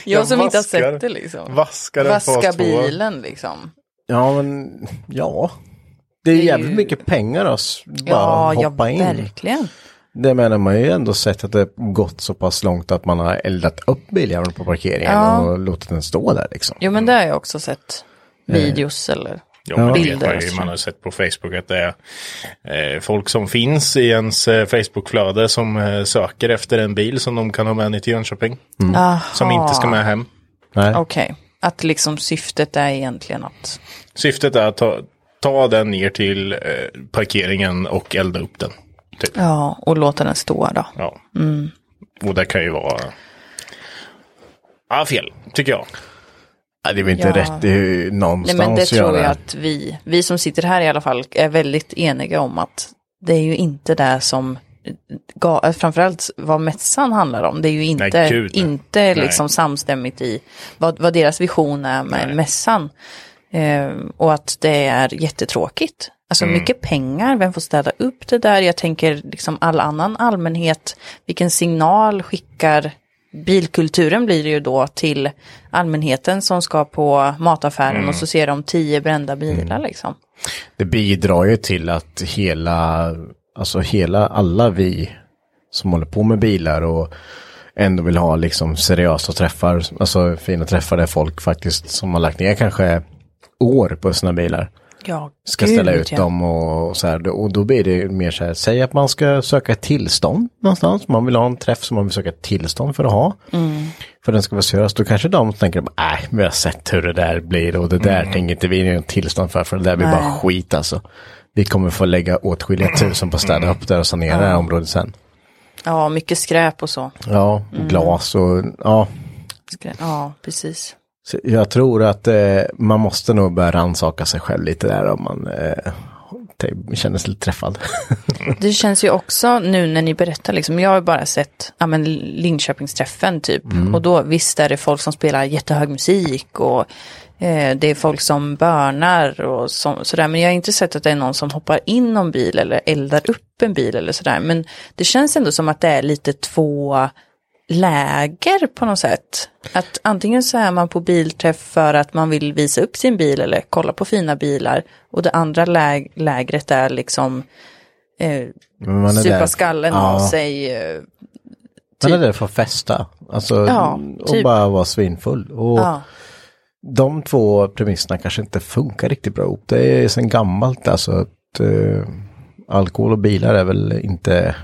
Speaker 6: Jag som inte har sett det liksom.
Speaker 5: Vaskar en
Speaker 6: Vaska
Speaker 5: fas två.
Speaker 6: bilen liksom.
Speaker 4: Ja, men ja. Det är ju jävligt mycket pengar att bara
Speaker 6: Ja, ja,
Speaker 4: hoppa in.
Speaker 6: verkligen.
Speaker 4: Det menar man har ju ändå sett att det har gått så pass långt att man har eldat upp biljäveln på parkeringen
Speaker 6: Ja.
Speaker 4: och låtit den stå där liksom.
Speaker 6: Jo men det har jag också sett.
Speaker 5: Eh.
Speaker 6: Videos eller
Speaker 5: Ja, men det vet
Speaker 6: bilder.
Speaker 5: man, ju, man har sett på Facebook att det är eh, folk som finns i ens eh, Facebookflöde som eh, söker efter en bil som de kan ha med ner till Jönköping.
Speaker 6: Mm. Aha.
Speaker 5: Som inte ska med hem.
Speaker 6: Okej, att liksom syftet är egentligen att
Speaker 5: Syftet är att ta, ta den ner till eh, parkeringen och elda upp den. Typ.
Speaker 6: ja, och låta den stå då.
Speaker 5: Ja.
Speaker 6: Mm.
Speaker 5: Och det kan ju vara ja, fel, tycker jag.
Speaker 4: Ja, det är väl
Speaker 6: inte Ja. rätt, det är
Speaker 4: ju
Speaker 6: Nej
Speaker 4: någonstans
Speaker 6: men det tror jag att vi, vi som sitter här i alla fall är väldigt eniga om att det är ju inte det som ga- äh, framförallt vad mässan handlar om. Det är ju inte,
Speaker 8: Nej, gud, nej.
Speaker 6: inte
Speaker 8: Nej.
Speaker 6: liksom samstämmigt i vad, vad deras vision är med mässan. Ehm, och att det är jättetråkigt. Alltså
Speaker 8: Mm.
Speaker 6: mycket pengar, vem får städa upp det där? Jag tänker liksom all annan allmänhet, vilken signal skickar bilkulturen blir det ju då till allmänheten som ska på mataffären
Speaker 4: Mm.
Speaker 6: och så ser de tio brända bilar liksom.
Speaker 4: Det bidrar ju till att hela, alltså hela, alla vi som håller på med bilar och ändå vill ha liksom seriösa träffar, alltså fina träffar där folk faktiskt som har lagt ner kanske år på sina bilar.
Speaker 6: Ja,
Speaker 4: ska
Speaker 6: gud,
Speaker 4: ställa ut
Speaker 6: ja.
Speaker 4: dem och, och så här. Och då blir det mer så här, säg att man ska söka tillstånd någonstans. Man vill ha en träff som man vill söka tillstånd för att ha.
Speaker 6: Mm.
Speaker 4: För den ska vara seriös. Då kanske de tänker, nej, men jag har sett hur det där blir och det där tänker inte vi ge tillstånd för, för det där blir bara
Speaker 6: Mm. Nej.
Speaker 4: skit alltså. Vi kommer få lägga åtskilliga tusen på att städa upp där och sanera det här området sen.
Speaker 6: Ja, mycket skräp och så.
Speaker 4: Ja,
Speaker 6: Mm.
Speaker 4: glas och ja.
Speaker 6: Skrä- Ja, precis.
Speaker 4: Så jag tror att eh, man måste nog börja rannsaka sig själv lite där om man eh, te- känner sig lite träffad.
Speaker 6: Det känns ju också nu när ni berättar, liksom, jag har bara sett ja, men Linköpingsträffen typ.
Speaker 4: Mm.
Speaker 6: Och då visst är det folk som spelar jättehög musik och eh, det är folk som bönar och så, sådär. Men jag har inte sett att det är någon som hoppar in någon bil eller eldar upp en bil eller sådär. Men det känns ändå som att det är lite två läger på något sätt. Att antingen så är man på bilträff för att man vill visa upp sin bil eller kolla på fina bilar. Och det andra läg- lägret är liksom eh,
Speaker 4: Men man är
Speaker 6: supa
Speaker 4: där-
Speaker 6: skallen
Speaker 4: Ja.
Speaker 6: av sig. eh,
Speaker 4: Man är där för att festa. Alltså,
Speaker 6: Ja,
Speaker 4: och
Speaker 6: typ.
Speaker 4: bara vara svinfull. Och
Speaker 6: Ja.
Speaker 4: De två premisserna kanske inte funkar riktigt bra ihop. Det är sen gammalt alltså. Att, eh, alkohol och bilar är väl inte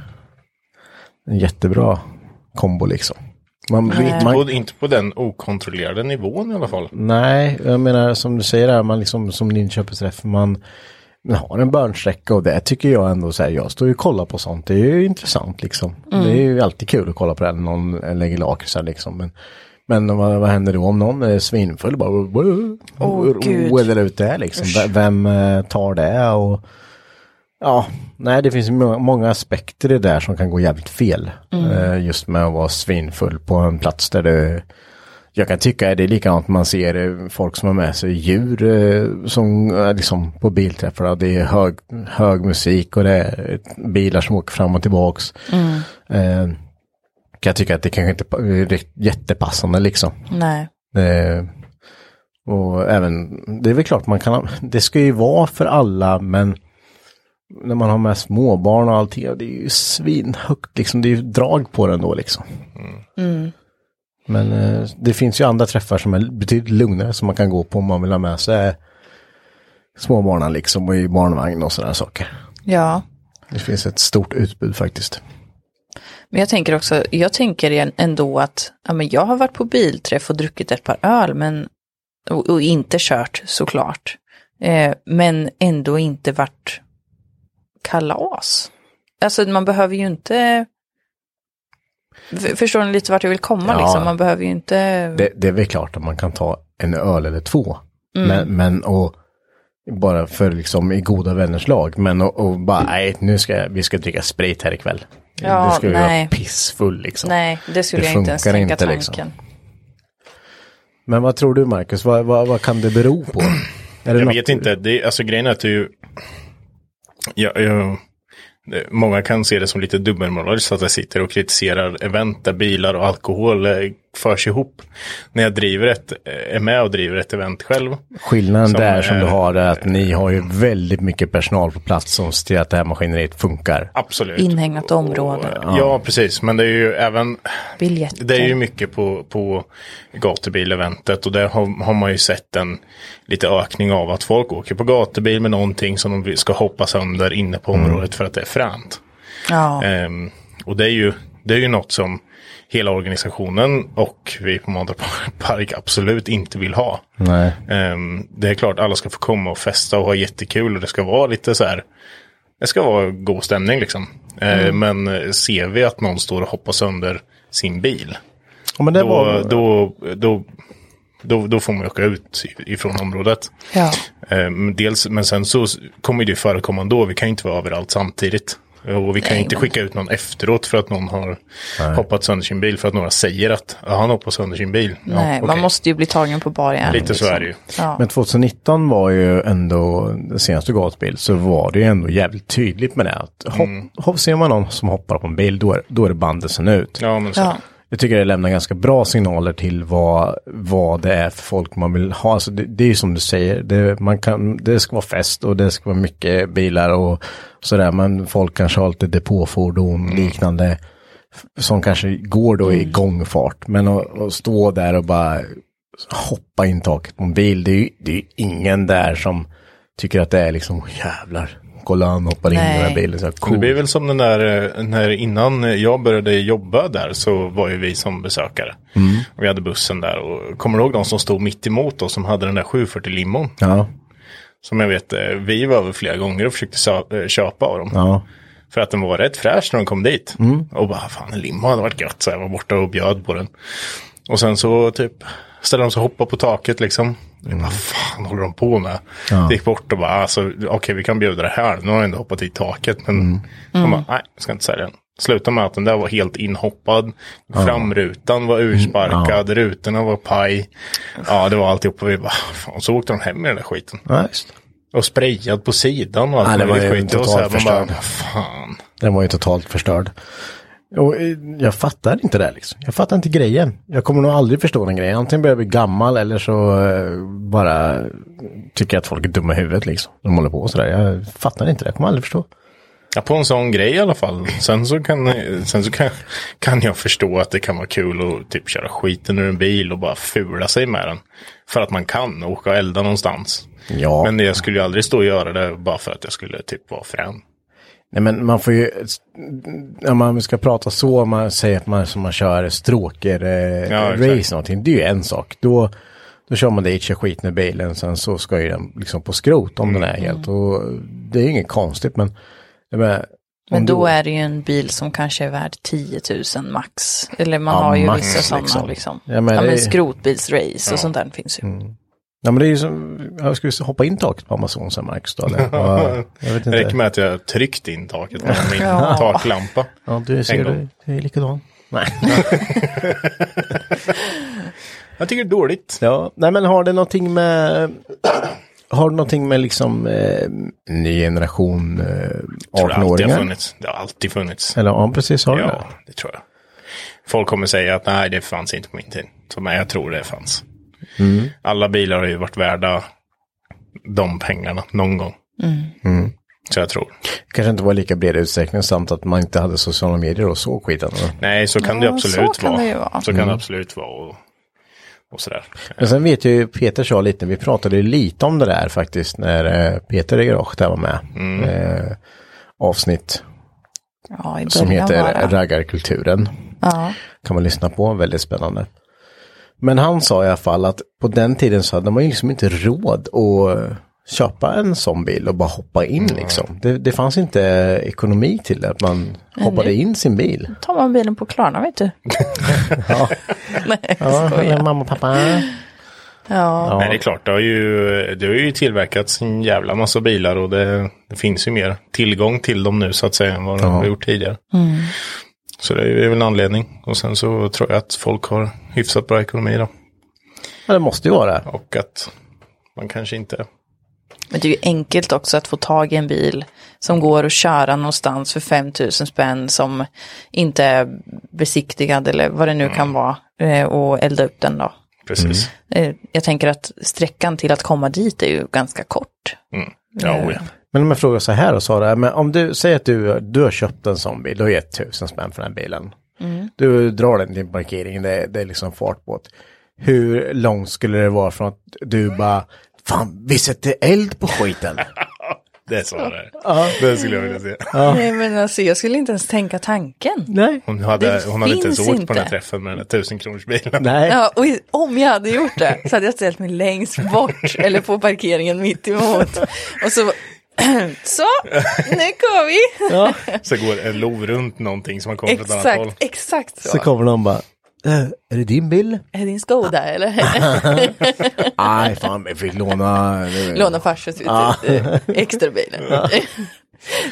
Speaker 4: en jättebra kombo liksom. Man,
Speaker 5: inte,
Speaker 4: man,
Speaker 5: på, inte på den okontrollerade nivån i alla fall.
Speaker 4: Nej, jag menar som du säger där, man liksom som Linköpingsträff, man, man har en börnsträcka och det tycker jag ändå så här, jag står ju och kollar på sånt, det är ju intressant liksom.
Speaker 5: Mm.
Speaker 4: Det är ju alltid kul att kolla på det när någon lägger lakritsar liksom. Men, men vad, vad händer då om någon är svinfull bara
Speaker 6: Åh, gud.
Speaker 4: weddar ut det här, liksom?
Speaker 6: Usch.
Speaker 4: V- Vem eh, tar det och ja, nej det finns må- många aspekter i det där som kan gå jävligt fel.
Speaker 6: Mm.
Speaker 4: Eh, Just med att vara svinfull på en plats där det jag kan tycka det är likadant man ser eh, folk som har med sig djur eh, som eh, liksom på bilträffar. och Det är hög, hög musik och det är bilar som åker fram och tillbaks.
Speaker 6: Mm.
Speaker 4: Eh, kan jag tycka att det kanske inte pa- är rikt- jättepassande liksom.
Speaker 6: Nej.
Speaker 4: Eh, och även, det är väl klart man kan, ha- det ska ju vara för alla men när man har med småbarn och allting, ja, det är ju svinhögt liksom, det är ju drag på den då liksom.
Speaker 6: Mm.
Speaker 4: Men eh, det finns ju andra träffar som är betydligt lugnare som man kan gå på om man vill ha med sig småbarnen liksom och i barnvagn och sådana saker.
Speaker 6: Ja,
Speaker 4: Det finns ett stort utbud faktiskt.
Speaker 6: men jag tänker också, jag tänker igen- ändå att ja, men jag har varit på bilträff och druckit ett par öl men, och, och inte kört såklart. Eh, men ändå inte varit kalas. Alltså man behöver ju inte, F- förstår ni lite vart jag vill komma
Speaker 4: Ja.
Speaker 6: liksom? Man behöver ju inte,
Speaker 4: Det, det är väl klart att man kan ta en öl eller två.
Speaker 6: Mm.
Speaker 4: Men, men och bara för liksom i goda vänners lag. Men och, och bara nej, nu ska jag- vi ska dricka sprit här ikväll.
Speaker 6: Ja,
Speaker 4: det ska vi vara
Speaker 6: nej.
Speaker 4: pissfull liksom.
Speaker 6: nej det skulle
Speaker 4: Det
Speaker 6: jag inte ens
Speaker 4: funkar
Speaker 6: tänka
Speaker 4: inte,
Speaker 6: tanken.
Speaker 4: liksom. Men vad tror du Marcus, vad, vad, vad kan det bero på? Är det
Speaker 5: jag
Speaker 4: något-
Speaker 5: vet inte. Det, är- alltså grejen är att det är ju... Ja, ja, det, många kan se det som lite dubbelmoraliskt att jag sitter och kritiserar event där bilar och alkohol eh, förs ihop. När jag driver ett, eh, är med och driver ett event själv.
Speaker 4: Skillnaden
Speaker 5: Som eh,
Speaker 4: där som
Speaker 5: är-
Speaker 4: du har är att ni har ju väldigt mycket personal på plats som ser till att det här maskineriet funkar.
Speaker 5: Absolut.
Speaker 6: Inhägnat område,
Speaker 5: Ja. precis. Men det är ju även...
Speaker 6: biljetter.
Speaker 5: Det är ju mycket på, på gatubileventet och där har, har man ju sett en lite ökning av att folk åker på gatubil med någonting som de vill- ska hoppa sönder inne på området för att det är fränt.
Speaker 6: Ja.
Speaker 4: eh,
Speaker 5: Ehm, och det är, ju, det är ju något som hela organisationen och vi på Mantorp Park absolut inte vill ha.
Speaker 4: Nej.
Speaker 5: Ehm, det är klart alla ska få komma och festa och ha jättekul och det ska vara lite så här. Det ska vara god stämning liksom. Ehm,
Speaker 4: Mm.
Speaker 5: Men eh, ser vi att någon står och hoppar sönder sin bil.
Speaker 4: Ja, men det
Speaker 5: då,
Speaker 4: var-
Speaker 5: då, då, då, då får man ju åka ut ifrån området.
Speaker 6: Ja.
Speaker 5: Ehm, dels, men sen så kommer det ju förekomma ändå. Vi kan ju inte vara överallt samtidigt. Och vi kan ju
Speaker 6: Nej,
Speaker 5: inte
Speaker 6: men-
Speaker 5: skicka ut någon efteråt för att någon har
Speaker 4: Nej.
Speaker 5: hoppat sönder sin bil. För att några säger att "Ja, han hoppade sönder sin bil. Ja,
Speaker 6: Nej, man
Speaker 5: okej.
Speaker 6: måste ju bli tagen på bar gärning,
Speaker 5: Lite så
Speaker 6: liksom.
Speaker 5: är det ju.
Speaker 6: Ja.
Speaker 4: Men 2019 var ju ändå, den senaste gatbil, så var det ju ändå jävligt tydligt med det. Att hopp, hopp, ser man någon som hoppar på en bil, då är, då är det bandet som är ut.
Speaker 5: Ja, men
Speaker 6: så. Ja.
Speaker 4: Jag tycker det lämnar ganska bra signaler till vad, vad det är för folk man vill ha. Alltså det, det är ju som du säger, det, man kan, det ska vara fest och det ska vara mycket bilar och sådär. Men folk kanske har lite depåfordon liknande. f- Som kanske går då i gångfart. Men att, att stå där och bara hoppa in taket på en bil, det är ju det är ju ingen där som tycker att det är liksom jävlar. Kolla han hoppar in i den här bilen. Så här,
Speaker 5: Det
Speaker 4: cool.
Speaker 5: blir väl som den där, eh, när innan jag började jobba där så var ju vi som besökare.
Speaker 4: Mm.
Speaker 5: Vi hade bussen där och kommer du ihåg de som stod mitt emot oss som hade den där 740 limon?
Speaker 4: Ja,
Speaker 5: Som jag vet, eh, vi var över flera gånger och försökte sa- eh, köpa av dem.
Speaker 4: ja.
Speaker 5: För att den var rätt fräsch när de kom dit.
Speaker 4: Mm.
Speaker 5: Och bara, fan en limo hade varit gött. Så jag var borta och bjöd på den. Och sen så typ ställde de sig och hoppade på taket liksom. Jag bara, fan håller de på med?
Speaker 4: Mm. Ja.
Speaker 5: Det gick bort och bara, alltså, okej vi kan bjuda det här. Nu har jag ändå hoppat i taket. Men
Speaker 4: Mm.
Speaker 5: de bara, nej, jag ska inte sälja den. Slutade med att den där var helt inhoppad.
Speaker 4: Ja. Mm.
Speaker 5: Framrutan var ursparkad, rutorna var paj. Ja, det var alltihop. Och vi bara, fan, så åkte de hem med den där skiten.
Speaker 4: Ja, just.
Speaker 5: Och sprayad på sidan och allt
Speaker 4: Ja, det var
Speaker 5: möjligt
Speaker 4: ju
Speaker 5: skit. Det var så här,
Speaker 4: totalt
Speaker 5: man bara,
Speaker 4: förstörd.
Speaker 5: fan.
Speaker 4: Den var ju totalt förstörd. Och eh, jag fattar inte det här, liksom. Jag fattar inte grejen. Jag kommer nog aldrig förstå den grejen. Antingen börjar jag bli gammal eller så eh, bara tycker jag att folk är dumma i huvudet liksom. De håller på sådär. Jag fattar inte det. Jag kommer aldrig förstå.
Speaker 5: Ja, på en sån grej i alla fall. Sen så kan, sen så kan, kan jag förstå att det kan vara kul att typ köra skiten ur en bil och bara fula sig med den. För att man kan åka och elda någonstans.
Speaker 4: Ja.
Speaker 5: Men jag skulle ju aldrig stå och göra det bara för att jag skulle typ vara frän.
Speaker 4: Nej men man får ju, om man ska prata så, om man säger att man, som man kör stråker eh,
Speaker 5: Ja, exakt.
Speaker 4: race någonting, det är ju en sak. Då, då kör man dit, kör skit med bilen, sen så ska ju den liksom på skrot
Speaker 5: Mm.
Speaker 4: om den är helt. Och det är ju inget konstigt men, jag menar,
Speaker 6: Men
Speaker 4: om
Speaker 6: då
Speaker 4: du-
Speaker 6: är det ju en bil som kanske är värd 10 000 max. Eller man
Speaker 4: Ja,
Speaker 6: har ju
Speaker 4: max,
Speaker 6: vissa sådana
Speaker 4: liksom.
Speaker 6: liksom.
Speaker 4: Ja,
Speaker 6: Ja
Speaker 4: men
Speaker 6: men,
Speaker 4: det är-
Speaker 6: skrotbilsrace
Speaker 4: Ja. Mm.
Speaker 6: och sånt där finns ju.
Speaker 4: Ja men det är ju som, jag ska vi hoppa in taket på Amazon sen Marcus då eller? Ja, jag vet
Speaker 5: Det räcker
Speaker 4: inte.
Speaker 5: med att jag tryckt in taket med min
Speaker 4: Ja.
Speaker 5: taklampa.
Speaker 4: Ja, du
Speaker 5: En
Speaker 4: ser
Speaker 5: gång.
Speaker 4: det, det är likadant. Nej.
Speaker 5: jag tycker det är dåligt.
Speaker 4: Ja, nej men har det någonting med, har det någonting med liksom eh, ny generation eh,
Speaker 5: Tror det alltid har
Speaker 4: 18-åringar?
Speaker 5: funnits. Det har alltid funnits.
Speaker 4: Eller ja, precis har det det.
Speaker 5: Ja, det tror jag. Folk kommer säga att nej, det fanns inte på min tid. Så, men jag tror det fanns.
Speaker 4: Mm.
Speaker 5: Alla bilar har ju varit värda de pengarna någon gång.
Speaker 4: Mm.
Speaker 5: Så jag tror.
Speaker 4: Kanske inte var i lika bred utsträckning samt att man inte hade sociala medier och så skiten. va?
Speaker 5: Nej, så kan
Speaker 4: Ja,
Speaker 5: det absolut
Speaker 4: så kan
Speaker 5: vara.
Speaker 4: det ju vara.
Speaker 5: Så kan
Speaker 4: Mm.
Speaker 5: det absolut vara. Och, och sådär.
Speaker 4: Men sen vet jag ju, Peter sa lite, vi pratade ju lite om det där faktiskt när eh, Peter i garaget där var med.
Speaker 5: Mm.
Speaker 4: Eh, avsnitt
Speaker 6: Ja, i
Speaker 4: som
Speaker 6: början
Speaker 4: heter
Speaker 6: bara.
Speaker 4: Raggarkulturen.
Speaker 6: Ja.
Speaker 4: Kan man lyssna på, väldigt spännande. Men han sa i alla fall att på den tiden så hade man ju liksom inte råd att köpa en sån bil och bara hoppa in liksom. Det, det fanns inte ekonomi till det, att man
Speaker 6: Men
Speaker 4: hoppade
Speaker 6: nu-
Speaker 4: in sin bil.
Speaker 6: Då tar man bilen på Klarna vet du.
Speaker 4: Ja.
Speaker 6: Nej,
Speaker 4: Ja,
Speaker 6: jag skojar.
Speaker 4: eller mamma och pappa.
Speaker 6: Ja.
Speaker 5: Nej, det är klart. Det har ju, det har ju tillverkats en jävla massa bilar och det, det finns ju mer tillgång till dem nu så att säga än vad de har gjort tidigare.
Speaker 6: Mm.
Speaker 5: Så det är ju väl en anledning. Och sen så tror jag att folk har hyfsat bra ekonomi då.
Speaker 4: Ja, det måste ju vara det.
Speaker 5: Och att man kanske inte...
Speaker 6: Men det är ju enkelt också att få tag i en bil som går att köra någonstans för 5 000 spänn som inte är besiktigad eller vad det nu
Speaker 4: Mm.
Speaker 6: kan vara eh, och elda upp den då.
Speaker 5: Precis.
Speaker 6: Eh, Jag tänker att sträckan till att komma dit är ju ganska kort. Ja, Eh. oh ja.
Speaker 4: Men om jag frågar så här och Sara, men om du säger att du, du har köpt en sån bil, du har gett tusen spänn för den här bilen.
Speaker 6: Mm.
Speaker 4: Du drar den till parkeringen, det, det är liksom fart på det. Hur långt skulle det vara från att du bara, fan vi sätter eld på skiten.
Speaker 5: Det är så det är. Det skulle jag vilja se.
Speaker 6: Nej men alltså jag skulle inte ens tänka tanken.
Speaker 4: Nej.
Speaker 5: Hon hade,
Speaker 6: Det
Speaker 5: hon hade inte ens
Speaker 6: finns
Speaker 5: åkt på den här
Speaker 6: inte.
Speaker 5: träffen med den här tusenkronorsbilen.
Speaker 4: Nej.
Speaker 6: Ja, och i- om jag hade gjort det så hade jag ställt mig längst bort eller på parkeringen mitt emot. Och så, så nu går vi.
Speaker 5: Så går en lov runt någonting som man kommer från ett annat håll.
Speaker 6: Exakt, exakt så.
Speaker 4: Så kommer de bara, "Eh, är det din bil?
Speaker 6: Är din Skoda eller?
Speaker 4: Nej, fan jag fick låna. eh,
Speaker 6: Låna farsans
Speaker 4: Ja.
Speaker 6: ut- extrabilen.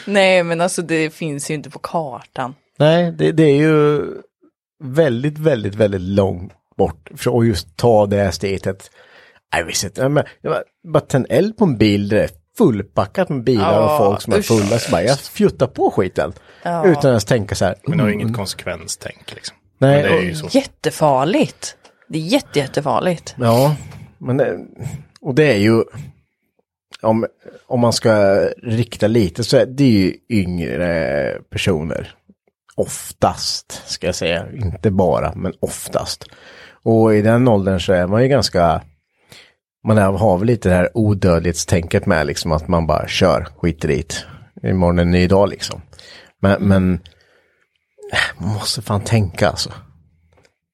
Speaker 6: Nej men alltså det finns ju inte på kartan.
Speaker 4: Nej, det, det är ju väldigt, väldigt, väldigt långt bort. För att just ta det här steget. att, Nej, vi sätter, nej, men, jag bara, bara tänd eld på en bil där det är fullpackat med bilar
Speaker 5: Ja,
Speaker 4: och folk som är
Speaker 5: usch.
Speaker 4: fulla. Så bara, jag fjuttar på skiten.
Speaker 6: Ja.
Speaker 4: Utan att ens tänka så här.
Speaker 5: Men det har ju
Speaker 4: mm,
Speaker 5: inget konsekvenstänk liksom.
Speaker 4: Nej,
Speaker 5: Men det är
Speaker 4: och-
Speaker 5: ju så.
Speaker 6: Jättefarligt. Det är jätte, jättefarligt.
Speaker 4: Ja, men det, och det är ju om, om man ska rikta lite så är det ju yngre personer. Oftast, ska jag säga. Inte bara, men oftast. Och i den åldern så är man ju ganska Man har- har väl lite det här odödlighetstänket med liksom att man bara kör, skiter i det. Imorgon är en ny dag liksom. Men, men äh, man måste fan tänka alltså.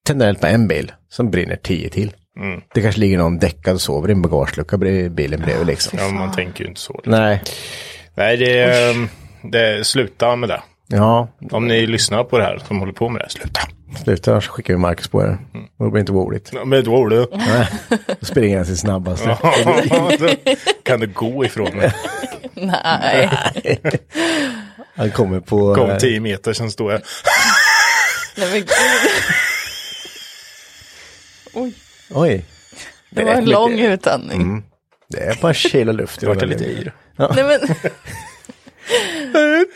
Speaker 4: Tänder eld på en bil, sen brinner tio till.
Speaker 5: Mm.
Speaker 4: Det kanske ligger någon däckad och sover i en bagagelucka bredvid bilen bredvid liksom.
Speaker 5: Ja, man tänker ju inte så.
Speaker 4: Nej.
Speaker 5: Nej, det, är, ehm, det sluta med det.
Speaker 4: Ja,
Speaker 5: Om ni lyssnar på det här, som håller på med det, här, sluta.
Speaker 4: sluta annars skickar vi Marcus på er.
Speaker 5: Mm.
Speaker 4: Och det blir inte roligt.
Speaker 5: Ja, Men då är du.
Speaker 4: Nej, då springer han sin snabbaste.
Speaker 5: Ja, då kan du gå ifrån mig.
Speaker 6: Nej.
Speaker 4: Han kommer på...
Speaker 5: Kom 10 meter, sen står jag.
Speaker 6: Nej men gud. Oj,
Speaker 4: Oj.
Speaker 6: det var en lång utandning.
Speaker 4: Mm. Det är bara kyla luft. Det
Speaker 5: vart lite yr.
Speaker 4: Ja.
Speaker 6: Nej men.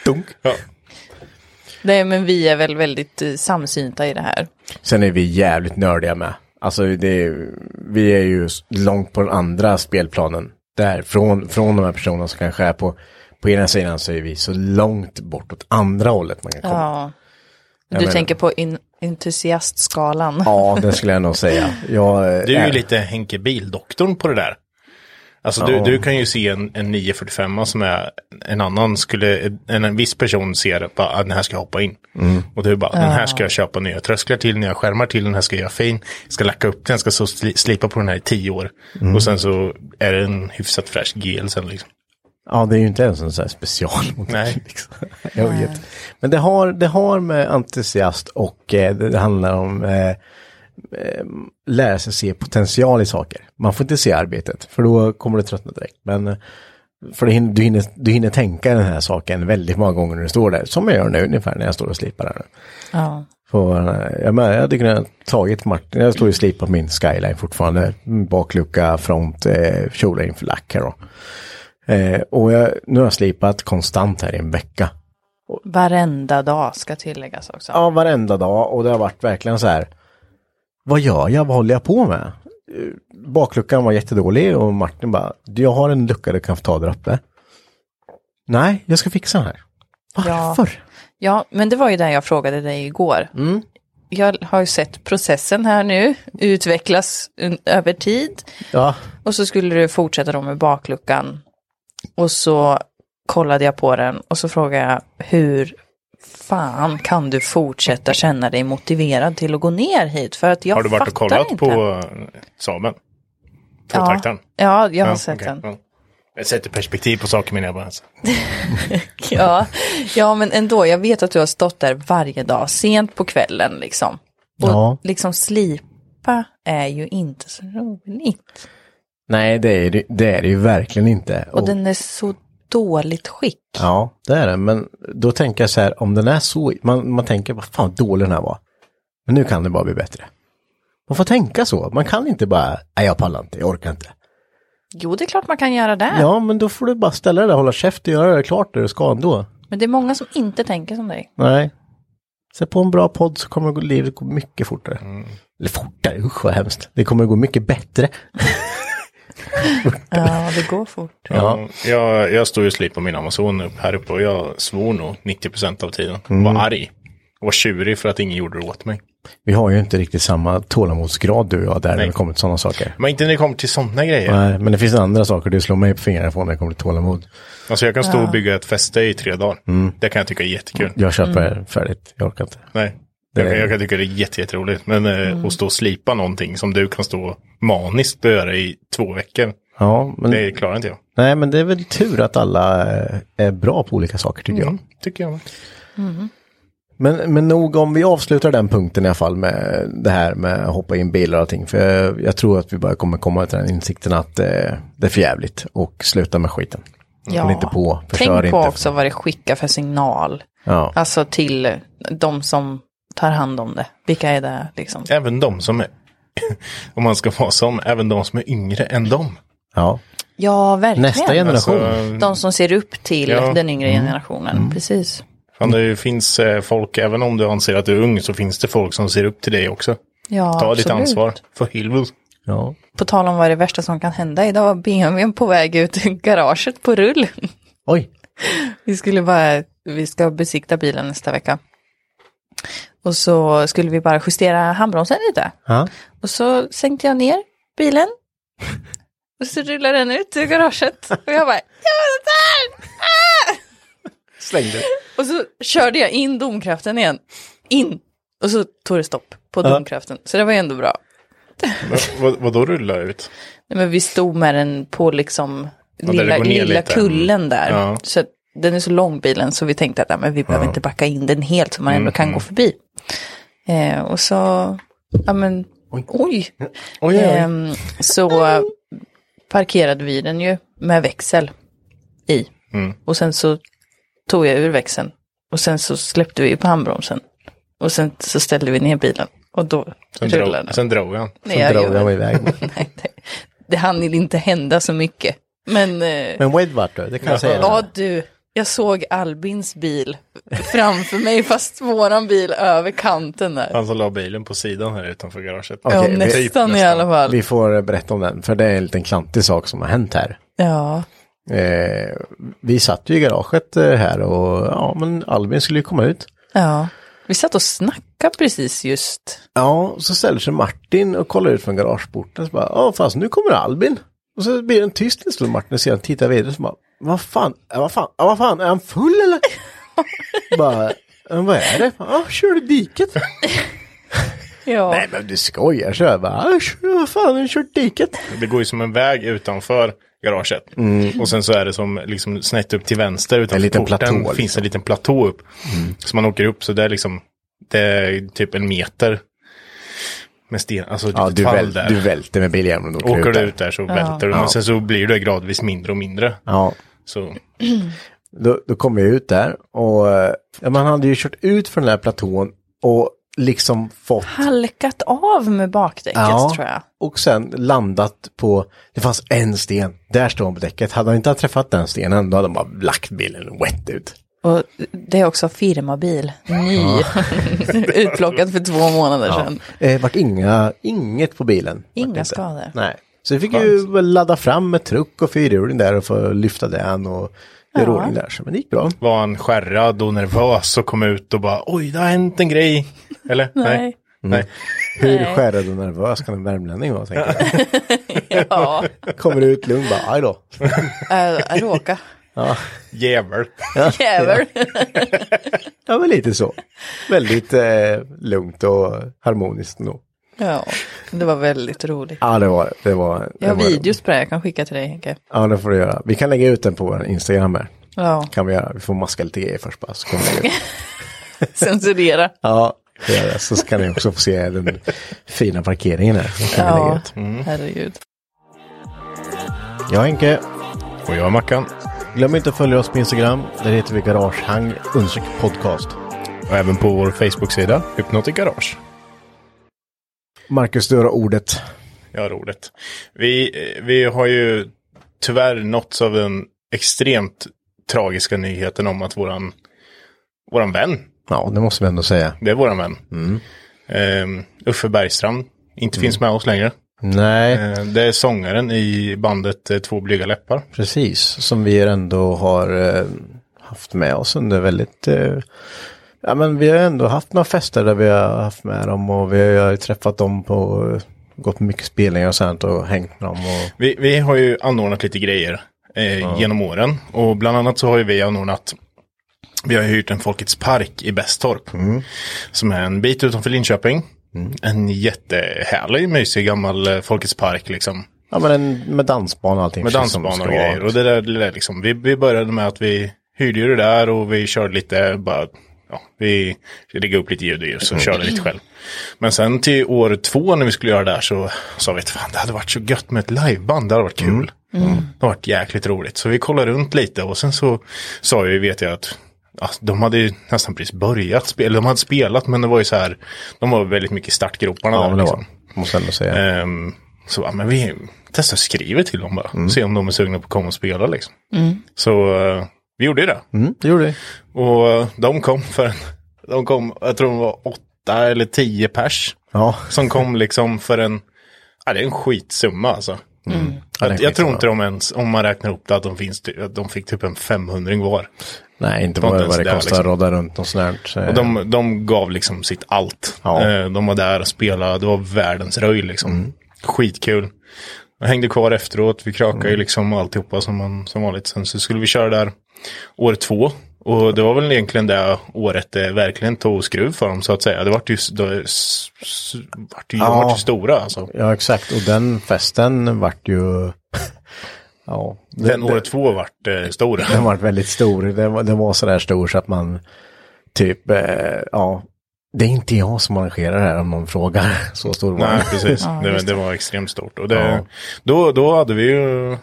Speaker 4: Dunk.
Speaker 6: Nej men vi är väl väldigt eh, samsynta i det här.
Speaker 4: Sen är vi jävligt nördiga med. Alltså det är, vi är ju s- långt på den andra spelplanen. Där, från, från de här personerna som kanske är på, på ena sidan så är vi så långt bort åt andra hållet man kan komma.
Speaker 6: Ja. Du
Speaker 4: Jag menar-
Speaker 6: tänker på in- entusiastskalan.
Speaker 4: Ja, det skulle jag nog säga. Jag, eh,
Speaker 5: Du är ju
Speaker 4: är-
Speaker 5: lite Henke Bildoktorn på det där. Alltså du,
Speaker 4: Ja.
Speaker 5: du kan ju se en, en 945 som är en annan skulle, en, en viss person ser bara att den här ska jag hoppa in.
Speaker 4: Mm.
Speaker 5: Och du bara,
Speaker 4: Ja.
Speaker 5: den här ska jag köpa nya trösklar till, nya skärmar till, den här ska jag göra fin, ska lacka upp den, ska så sli, slipa på den här i tio år.
Speaker 4: Mm.
Speaker 5: Och sen så är det en hyfsat fräsch GL sen liksom.
Speaker 4: Ja, det är ju inte ens en sån här special. liksom.
Speaker 5: Nej.
Speaker 4: Jag vet. Men det har, det har med entusiast och eh, det det handlar om eh, eh, lära sig se potential i saker. Man får inte se arbetet, för då kommer du tröttna direkt. Men eh, för du hinner, du, hinner, du hinner tänka den här saken väldigt många gånger när du står där, som jag gör nu ungefär när jag står och slipar här nu.
Speaker 6: Ja.
Speaker 4: För, eh, jag, menar, jag hade kunnat tagit Martin, jag står ju och slipar min skyline fortfarande. Mm, Baklucka, front, eh, kjolar inför lack här då. Eh, och jag, nu har jag slipat konstant här i en vecka.
Speaker 6: Varenda dag ska tilläggas också.
Speaker 4: Ja, varenda dag och det har varit verkligen så här. Vad gör jag? Vad håller jag på med? Eh, Bakluckan var jättedålig och Martin bara, "Du, jag har en lucka du kan få ta där uppe. Nej, jag ska fixa den här.
Speaker 6: Varför? Ja. ja, men det var ju det jag frågade dig igår.
Speaker 4: Mm.
Speaker 6: Jag har ju sett processen här nu utvecklas un- över tid.
Speaker 4: Ja,
Speaker 6: Och så skulle du fortsätta då med bakluckan. Och så kollade jag på den och så frågade jag hur fan kan du fortsätta känna dig motiverad till att gå ner hit? För att jag
Speaker 5: har du varit och
Speaker 6: fattar
Speaker 5: kollat
Speaker 6: inte.
Speaker 5: på eh, Saben? Tvåtaktaren?
Speaker 6: Ja, ja, jag har sett
Speaker 5: okej,
Speaker 6: den.
Speaker 5: ja. Jag sätter perspektiv på saker menar jag bara. Alltså.
Speaker 6: Ja, ja, men ändå, jag vet att du har stått där varje dag, sent på kvällen liksom. Och
Speaker 4: Ja.
Speaker 6: liksom slipa är ju inte så roligt.
Speaker 4: nej det är det, det, är det ju verkligen inte.
Speaker 6: Och den är så dåligt skick.
Speaker 4: Ja, det är den. Men då tänker jag så här, om den är så, man, man tänker vad fan vad dålig den här var. Men nu kan det bara bli bättre. Man får tänka så, man kan inte bara, nej jag pallar inte, jag orkar inte.
Speaker 6: Jo, det är klart man kan göra det.
Speaker 4: Ja, men då får du bara ställa dig där, hålla käft och göra det klart det du ska ändå.
Speaker 6: Men det är många som inte tänker som dig.
Speaker 4: Nej. Sätt på en bra podd så kommer livet gå mycket fortare. Eller fortare, usch vad hemskt. Det kommer gå mycket bättre.
Speaker 6: Ja, det går fort.
Speaker 5: Ja. Jag, jag står ju och slipar min Amazon upp här uppe och jag svor nog 90% av tiden.
Speaker 4: Mm.
Speaker 5: Var arg. Och var tjurig för att ingen gjorde det åt mig.
Speaker 4: Vi har ju inte riktigt samma tålamodsgrad du och jag där när det kommer till sådana saker.
Speaker 5: Men inte när det kommer till sådana grejer.
Speaker 4: Nej, men det finns andra saker du slår mig på fingrarna på när det kommer till tålamod.
Speaker 5: Alltså jag kan stå
Speaker 4: Ja.
Speaker 5: och bygga ett fäste i tre dagar.
Speaker 4: Mm.
Speaker 5: Det kan jag tycka är jättekul.
Speaker 4: Jag köper
Speaker 6: Mm.
Speaker 4: färdigt, jag orkar inte.
Speaker 5: Nej.
Speaker 4: Det-
Speaker 5: Jag, kan- jag kan tycka det är jätte- jätteroligt. Men eh,
Speaker 4: Mm.
Speaker 5: att stå och slipa någonting som du kan stå maniskt och göra i två
Speaker 4: Mm.
Speaker 5: veckor.
Speaker 4: Ja, men...
Speaker 5: Det klarar inte jag.
Speaker 4: Nej, men det är väl tur att alla eh, är bra på olika saker tycker
Speaker 6: Mm.
Speaker 4: jag.
Speaker 5: Mm, Tycker jag med.
Speaker 4: Men, men nog om vi avslutar den punkten i alla fall med det här med att hoppa in bilar och allting. För jag, jag tror att vi bara kommer komma till den insikten att eh, det är för jävligt och sluta med skiten. Håll inte på, förstör
Speaker 6: Tänk på
Speaker 4: inte.
Speaker 6: också vad det skickar för signal.
Speaker 4: Ja.
Speaker 6: Alltså till de som tar hand om det. Vilka är det liksom?
Speaker 5: Även de som är, om man ska vara som, även de som är yngre än dem.
Speaker 4: Ja.
Speaker 6: Ja, verkligen.
Speaker 5: Nästa generation. Alltså,
Speaker 6: de som ser upp till
Speaker 5: ja.
Speaker 6: den yngre
Speaker 5: Mm.
Speaker 6: generationen. Precis.
Speaker 5: Fan, det finns eh, folk, även om du anser att du är ung, så finns det folk som ser upp till dig också.
Speaker 6: Ja,
Speaker 5: Ta ditt
Speaker 6: absolut.
Speaker 5: ansvar, för helvete.
Speaker 4: Ja.
Speaker 6: På tal om vad det värsta som kan hända, idag var BMWn på väg ut ur garaget på rull.
Speaker 4: Oj.
Speaker 6: Vi skulle bara, vi ska besikta bilen nästa vecka. Och så skulle vi bara justera handbromsen lite.
Speaker 4: Ja.
Speaker 6: Och så sänkte jag ner bilen. Och så rullar den ut ur garaget. Och jag bara, jag var där! Ah!
Speaker 4: Slängde.
Speaker 6: Och så körde jag in domkraften igen. In! Och så tog det stopp på
Speaker 5: Ja.
Speaker 6: domkraften. Så det var ju ändå bra.
Speaker 5: Vad, vad då rullar ut?
Speaker 6: Nej, men vi stod med den på liksom
Speaker 5: Ja, där
Speaker 6: lilla,
Speaker 5: det går ner
Speaker 6: lilla
Speaker 5: lite. Mm.
Speaker 6: kullen där.
Speaker 5: Ja.
Speaker 6: Så att den är så lång bilen så vi tänkte att nej, men vi behöver
Speaker 5: Ja.
Speaker 6: inte backa in den helt så man ändå kan
Speaker 5: Mhm.
Speaker 6: gå förbi. Eh, och så, ja men, oj.
Speaker 5: oj, oj.
Speaker 6: Ehm, så parkerade vi den ju med växel i.
Speaker 5: Mm.
Speaker 6: Och sen så tog jag ur växeln. Och sen så släppte vi på handbromsen. Och sen så ställde vi ner bilen. Och då
Speaker 5: Sen,
Speaker 6: rullade
Speaker 5: drog, sen drog han.
Speaker 6: Nej, jag gör det.
Speaker 4: iväg.
Speaker 6: Nej, det, det hann inte hända så mycket. Men, eh,
Speaker 4: Men Wed vart det, det kan jag säga.
Speaker 6: ja du, jag såg Albins bil framför mig fast våran bil över kanten där.
Speaker 5: Han som la bilen på sidan här utanför garaget. Typ,
Speaker 4: Okej,
Speaker 6: ja,
Speaker 4: vi-
Speaker 6: nästan i alla fall.
Speaker 4: Vi får eh, berätta om den, för det är en liten klantig sak som har hänt här.
Speaker 6: Ja,
Speaker 4: Eh, vi satt ju i garaget eh, här och ja, men Albin skulle ju komma ut.
Speaker 6: ja. Vi satt och snackade precis just.
Speaker 4: Ja, så ställer sig Martin och kollar ut från garageporten. Så bara, ja fast nu kommer Albin. Och så blir det en tyst en stund, Martin, och sedan tittar vidare. Så bara, vad fan, ja, vad fan, ja, vad fan, är han full eller? bara, "Ja, vad är det? Ja, kör i diket.
Speaker 6: Ja.
Speaker 4: Nej men du skojar, så jag bara, "Ja, kör, vad fan, har du kört diket?
Speaker 5: Det går ju som en väg utanför garaget.
Speaker 4: Mm.
Speaker 5: Och sen så är det som liksom snett upp till vänster utanför
Speaker 4: En liten
Speaker 5: porten
Speaker 4: platå, liksom. Mm.
Speaker 5: finns en liten platå upp. Så man åker upp så det är liksom, det är typ en meter med sten, alltså
Speaker 4: Ja,
Speaker 5: ett
Speaker 4: du,
Speaker 5: fall
Speaker 4: väl,
Speaker 5: där.
Speaker 4: du välter med biljäveln och
Speaker 5: Åker du ut där så
Speaker 4: Ja.
Speaker 5: välter du, men
Speaker 4: Ja.
Speaker 5: sen så blir det gradvis mindre och mindre.
Speaker 4: Ja.
Speaker 5: Så,
Speaker 4: Då, då kom jag ut där och eh, ja, man hade ju kört ut från den här platån och liksom fått
Speaker 6: Halkat av med bakdäcket tror jag.
Speaker 4: Och sen landat på, det fanns en sten, där står han på däcket. Hade han inte träffat den stenen då hade han bara lagt bilen wet ut.
Speaker 6: Och det är också firmabil, ny,
Speaker 4: Ja.
Speaker 6: utplockad för två månader
Speaker 4: Ja.
Speaker 6: sedan.
Speaker 4: Eh, vart inga, inget på bilen.
Speaker 6: Inga
Speaker 4: Vart inte.
Speaker 6: skador.
Speaker 4: Nej. Så vi fick ju väl ladda fram med truck och fyrhjuling där och få lyfta den och göra ordning där. Så men det gick bra.
Speaker 5: var han skärrad och nervös och kom ut och bara oj, det har hänt en grej. Eller? Nej.
Speaker 6: Nej.
Speaker 5: Nej.
Speaker 4: Hur
Speaker 6: Eh.
Speaker 5: Nej.
Speaker 4: skärrad och nervös kan en värmlänning vara? Tänker jag.
Speaker 6: Ja,
Speaker 4: Kommer ut lugn bara, aj då.
Speaker 6: äh, råka.
Speaker 4: Ja.
Speaker 5: Jävel.
Speaker 6: Jävel.
Speaker 4: Ja, men lite så. Väldigt eh, lugnt och harmoniskt nog.
Speaker 6: Ja, det var väldigt roligt.
Speaker 4: Ja, det var det. det. Var, det
Speaker 6: Jag har
Speaker 4: var det.
Speaker 6: videos på det här, jag kan skicka till dig Henke.
Speaker 4: Ja, det får du göra. Vi kan lägga ut den på vår Instagram här.
Speaker 6: Ja.
Speaker 4: Kan vi göra. Vi får maska lite grejer först bara, så kommer vi lägga ut.
Speaker 6: Censurera.
Speaker 4: Ja, vi gör det. Så ska ni också få se den fina parkeringen här. Den kan vi lägga
Speaker 6: Ja,
Speaker 4: ut.
Speaker 6: herregud.
Speaker 4: Jag är Henke.
Speaker 5: Och jag är Mackan.
Speaker 4: Glöm inte att följa oss på Instagram. Där heter vi Garagehang understreck podcast.
Speaker 5: Och även på vår Facebook-sida, Hypnotic Garage.
Speaker 4: Marcus, du har ordet.
Speaker 5: Ja, roligt. Vi, eh, vi har ju tyvärr nåtts av den extremt tragiska nyheten om att våran, våran vän,
Speaker 4: Ja, det måste vi ändå säga.
Speaker 5: det är våran vän,
Speaker 4: Mm.
Speaker 5: ehm, Uffe Bergstrand, inte finns med oss längre.
Speaker 4: Nej.
Speaker 5: Eh, det är sångaren i bandet eh, Två blyga läppar.
Speaker 4: Precis, som vi ändå har eh, haft med oss under väldigt... Eh, ja, men vi har ändå haft några fester där vi har haft med dem och vi har ju träffat dem på... Gått på mycket spelningar och sånt och hängt med dem och...
Speaker 5: Vi, vi har ju anordnat lite grejer eh, genom åren. Och bland annat så har ju vi anordnat, vi har ju hyrt en Folkets Park i Bästorp.
Speaker 4: Mm.
Speaker 5: Som är en bit utanför Linköping. En jättehärlig, mysig gammal eh, Folkets Park liksom.
Speaker 4: Ja, men en, med dansbana och allting.
Speaker 5: Med
Speaker 4: precis som det
Speaker 5: dansbanor och
Speaker 4: ska vara.
Speaker 5: grejer. Och det där, det där liksom, vi, vi började med att vi hyrde ju det där och vi körde lite bara, ja, vi lägger upp lite ljud och ljus och
Speaker 4: Mm.
Speaker 5: körde lite själv. Men sen till år två när vi skulle göra det där så sa vi att fan det hade varit så gött med ett liveband, det hade varit kul.
Speaker 7: Mm.
Speaker 5: Det har varit jäkligt roligt. Så vi kollade runt lite och sen så sa jag, vet jag att ja, de hade ju nästan precis börjat spela. De hade spelat men det var ju så här, de var väldigt mycket i startgroparna.
Speaker 4: Ja,
Speaker 5: där,
Speaker 4: men det var-
Speaker 5: liksom.
Speaker 4: måste ändå säga. Mm,
Speaker 5: Ehm, så bara, men vi testar skriver till dem bara.
Speaker 4: Mm.
Speaker 5: Se om de är sugna på att komma och spela liksom.
Speaker 7: Mm.
Speaker 5: Så eh, vi gjorde ju det.
Speaker 4: Mm, det gjorde vi.
Speaker 5: Och eh, de kom för en, de kom, jag tror de var åtta eller tio pers.
Speaker 4: Ja.
Speaker 5: Som kom liksom för en, ja det är en skitsumma alltså.
Speaker 4: Mm. Ja, det
Speaker 5: Jag,
Speaker 4: är en
Speaker 5: jag tror
Speaker 4: skitsumma.
Speaker 5: inte de ens, om man räknar upp det, att de, finns, ty- att de fick typ en 500 var.
Speaker 4: Nej, inte
Speaker 5: Det var
Speaker 4: vad
Speaker 5: inte
Speaker 4: vad det
Speaker 5: ens där,
Speaker 4: kostar att
Speaker 5: liksom.
Speaker 4: rodda runt och sånt där.
Speaker 5: Och de, de gav liksom sitt allt.
Speaker 4: Ja. Mm.
Speaker 5: Eh, De var där och spelade, det var världens röj liksom. Skitkul. Jag hängde kvar efteråt, vi krakade
Speaker 4: Mm.
Speaker 5: ju liksom och alltihopa som, man, som vanligt. Sen så skulle vi köra där år två. Och det var väl egentligen det året det verkligen tog skruv för dem så att säga. Det vart ju, det, s- s- vart ju, de vart ju stora alltså.
Speaker 4: Ja, exakt. Och den festen vart ju... ja.
Speaker 5: Den år två vart eh, stor.
Speaker 4: Den vart väldigt stor. Den var, den var sådär stor så att man typ, eh, ja. Det är inte jag som arrangerar det här om någon frågar. Så stor var
Speaker 5: Nej,
Speaker 4: den.
Speaker 5: precis. det, det var extremt stort. Och det,
Speaker 4: Ja.
Speaker 5: då, då hade vi ju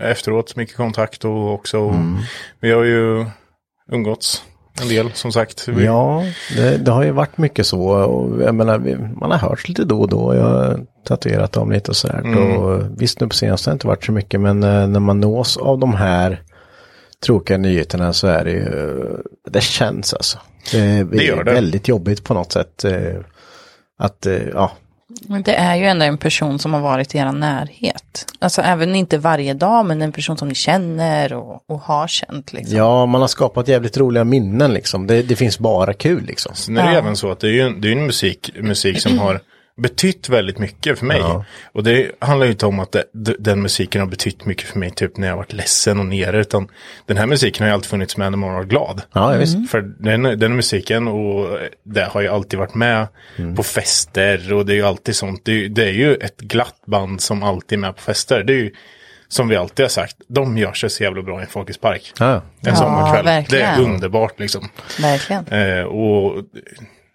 Speaker 5: efteråt mycket kontakt och också
Speaker 4: Mm.
Speaker 5: vi har ju umgåtts en del som sagt. Vi,
Speaker 4: Ja, det, det har ju varit mycket så. Och jag menar, vi, man har hört lite då och då. Jag har tatuerat dem lite och sådär.
Speaker 5: Mm.
Speaker 4: Och visst, nu på senaste har det inte varit så mycket, men eh, när man nås av de här tråkiga nyheterna så är det ju, eh, det känns alltså. Det,
Speaker 5: Det gör
Speaker 4: är
Speaker 5: det.
Speaker 4: väldigt jobbigt på något sätt. eh, Att, eh, ja,
Speaker 6: Men det är ju ändå en person som har varit i er närhet. Alltså även inte varje dag, men en person som ni känner och, och har känt. Liksom.
Speaker 4: ja, man har skapat jävligt roliga minnen liksom. Det, det finns bara kul liksom.
Speaker 5: Sen är det även så att det är ju en, det är ju en musik, musik som har betytt väldigt mycket för mig. Och det handlar ju inte om att det, d- den musiken har betytt mycket för mig typ när jag har varit ledsen och nere. Utan den här musiken har ju alltid funnits med när man har varit glad.
Speaker 4: Ja, ja, visst. Mm.
Speaker 5: För den, den musiken och det har ju alltid varit med
Speaker 4: Mm.
Speaker 5: på fester och det är ju alltid sånt. Det, är ju- det är ju ett glatt band som alltid är med på fester. Det är ju som vi alltid har sagt, de gör sig så jävla bra i en Folkets Park.
Speaker 4: Ja.
Speaker 6: Ja,
Speaker 5: En sommarkväll. det är
Speaker 6: verkligen.
Speaker 5: underbart liksom.
Speaker 6: Verkligen.
Speaker 5: Eh, och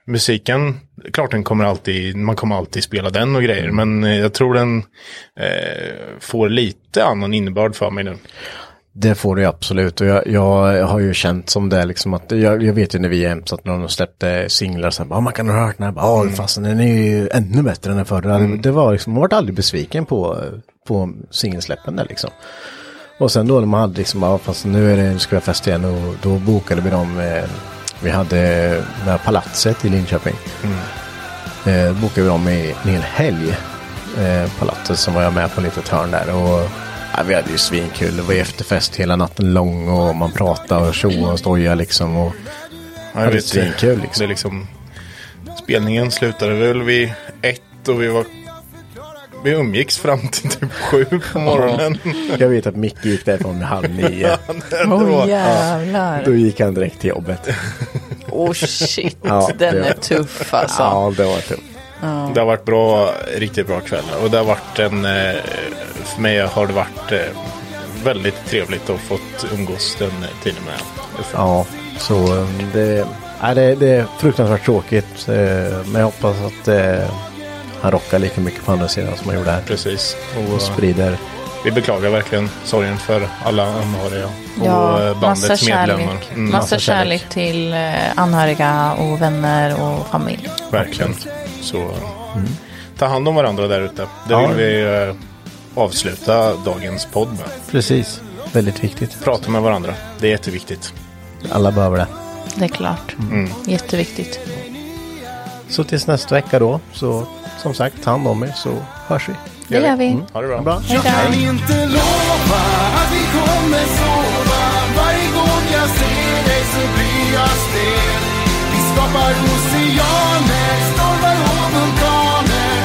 Speaker 5: musiken, klart den kommer alltid, man kommer alltid spela den och
Speaker 4: Mm.
Speaker 5: grejer. Men eh, jag tror den eh, får lite annan innebörd för mig nu.
Speaker 4: Det får du ju absolut och jag, jag har ju känt som det liksom att jag, jag vet ju när vi jämt att när de släppte singlar så här, bara, man kan ha hört den här, bara, "Ja, fasen den är ju ännu bättre än den förra. Det var liksom, man vart aldrig besviken på, på singelsläppen där liksom. Och sen då när man hade liksom, ja fast nu är det, nu ska vi ha fest igen och då bokade vi dem, eh, vi hade eh, det här palatset i Linköping. Eh, bokade vi dem i en hel helg. Eh, palatset som var jag med på ett litet hörn där. Och, ja, vi hade ju svinkul. Det var ju efterfest hela natten lång och man pratade och tjoade och stojade liksom. Och,
Speaker 5: Jag
Speaker 4: ja, det var
Speaker 5: vet,
Speaker 4: svinkul liksom.
Speaker 5: Det är liksom, spelningen slutade väl vid ett och vi var vi umgicks fram till typ sju på morgonen.
Speaker 4: Jag vet att Micke gick därifrån vid halv nio.
Speaker 5: Ja, det- det
Speaker 4: Oh,
Speaker 5: var-
Speaker 6: jävlar.
Speaker 4: Då gick han direkt till jobbet.
Speaker 6: Oh shit,
Speaker 4: Ja,
Speaker 6: den
Speaker 4: det-
Speaker 6: är tuff alltså.
Speaker 4: Ja, det var tufft.
Speaker 6: Ja.
Speaker 5: Det har varit bra, riktigt bra kvällar. Och det har varit en, eh, för mig har det varit eh, väldigt trevligt att fått umgås den tiden med.
Speaker 4: Ja, så eh, det, nej, det, det är fruktansvärt tråkigt. eh, Men jag hoppas att eh, han rockar lika mycket på andra sidan som han gjorde här.
Speaker 5: Precis. eh,
Speaker 4: Och sprider.
Speaker 5: Vi beklagar verkligen sorgen för alla anhöriga och
Speaker 6: Ja,
Speaker 5: eh, bandets
Speaker 6: massa
Speaker 5: medlemmar. Mm,
Speaker 6: kärlek. massa kärlek till eh, anhöriga och vänner och familj.
Speaker 5: Verkligen. Så eh, ta hand om varandra där ute. Det
Speaker 4: Ja.
Speaker 5: vill vi eh, avsluta dagens podd med.
Speaker 4: Precis, väldigt viktigt.
Speaker 5: Prata med varandra. Det är jätteviktigt.
Speaker 4: Alla behöver det.
Speaker 6: Det är klart. Jätteviktigt.
Speaker 4: Så tills nästa vecka då, så som sagt, ta hand om er så hörs vi.
Speaker 6: Det gör vi.
Speaker 4: Mm.
Speaker 5: Ha det bra.
Speaker 7: Jag kan inte lova att vi kommer sova Varje gång jag ser dig så blir jag stel Vi skapar oceaner, stormar och vulkaner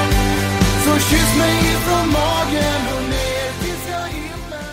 Speaker 7: Så kyss mig ifrån magen och ner tills jag himmelen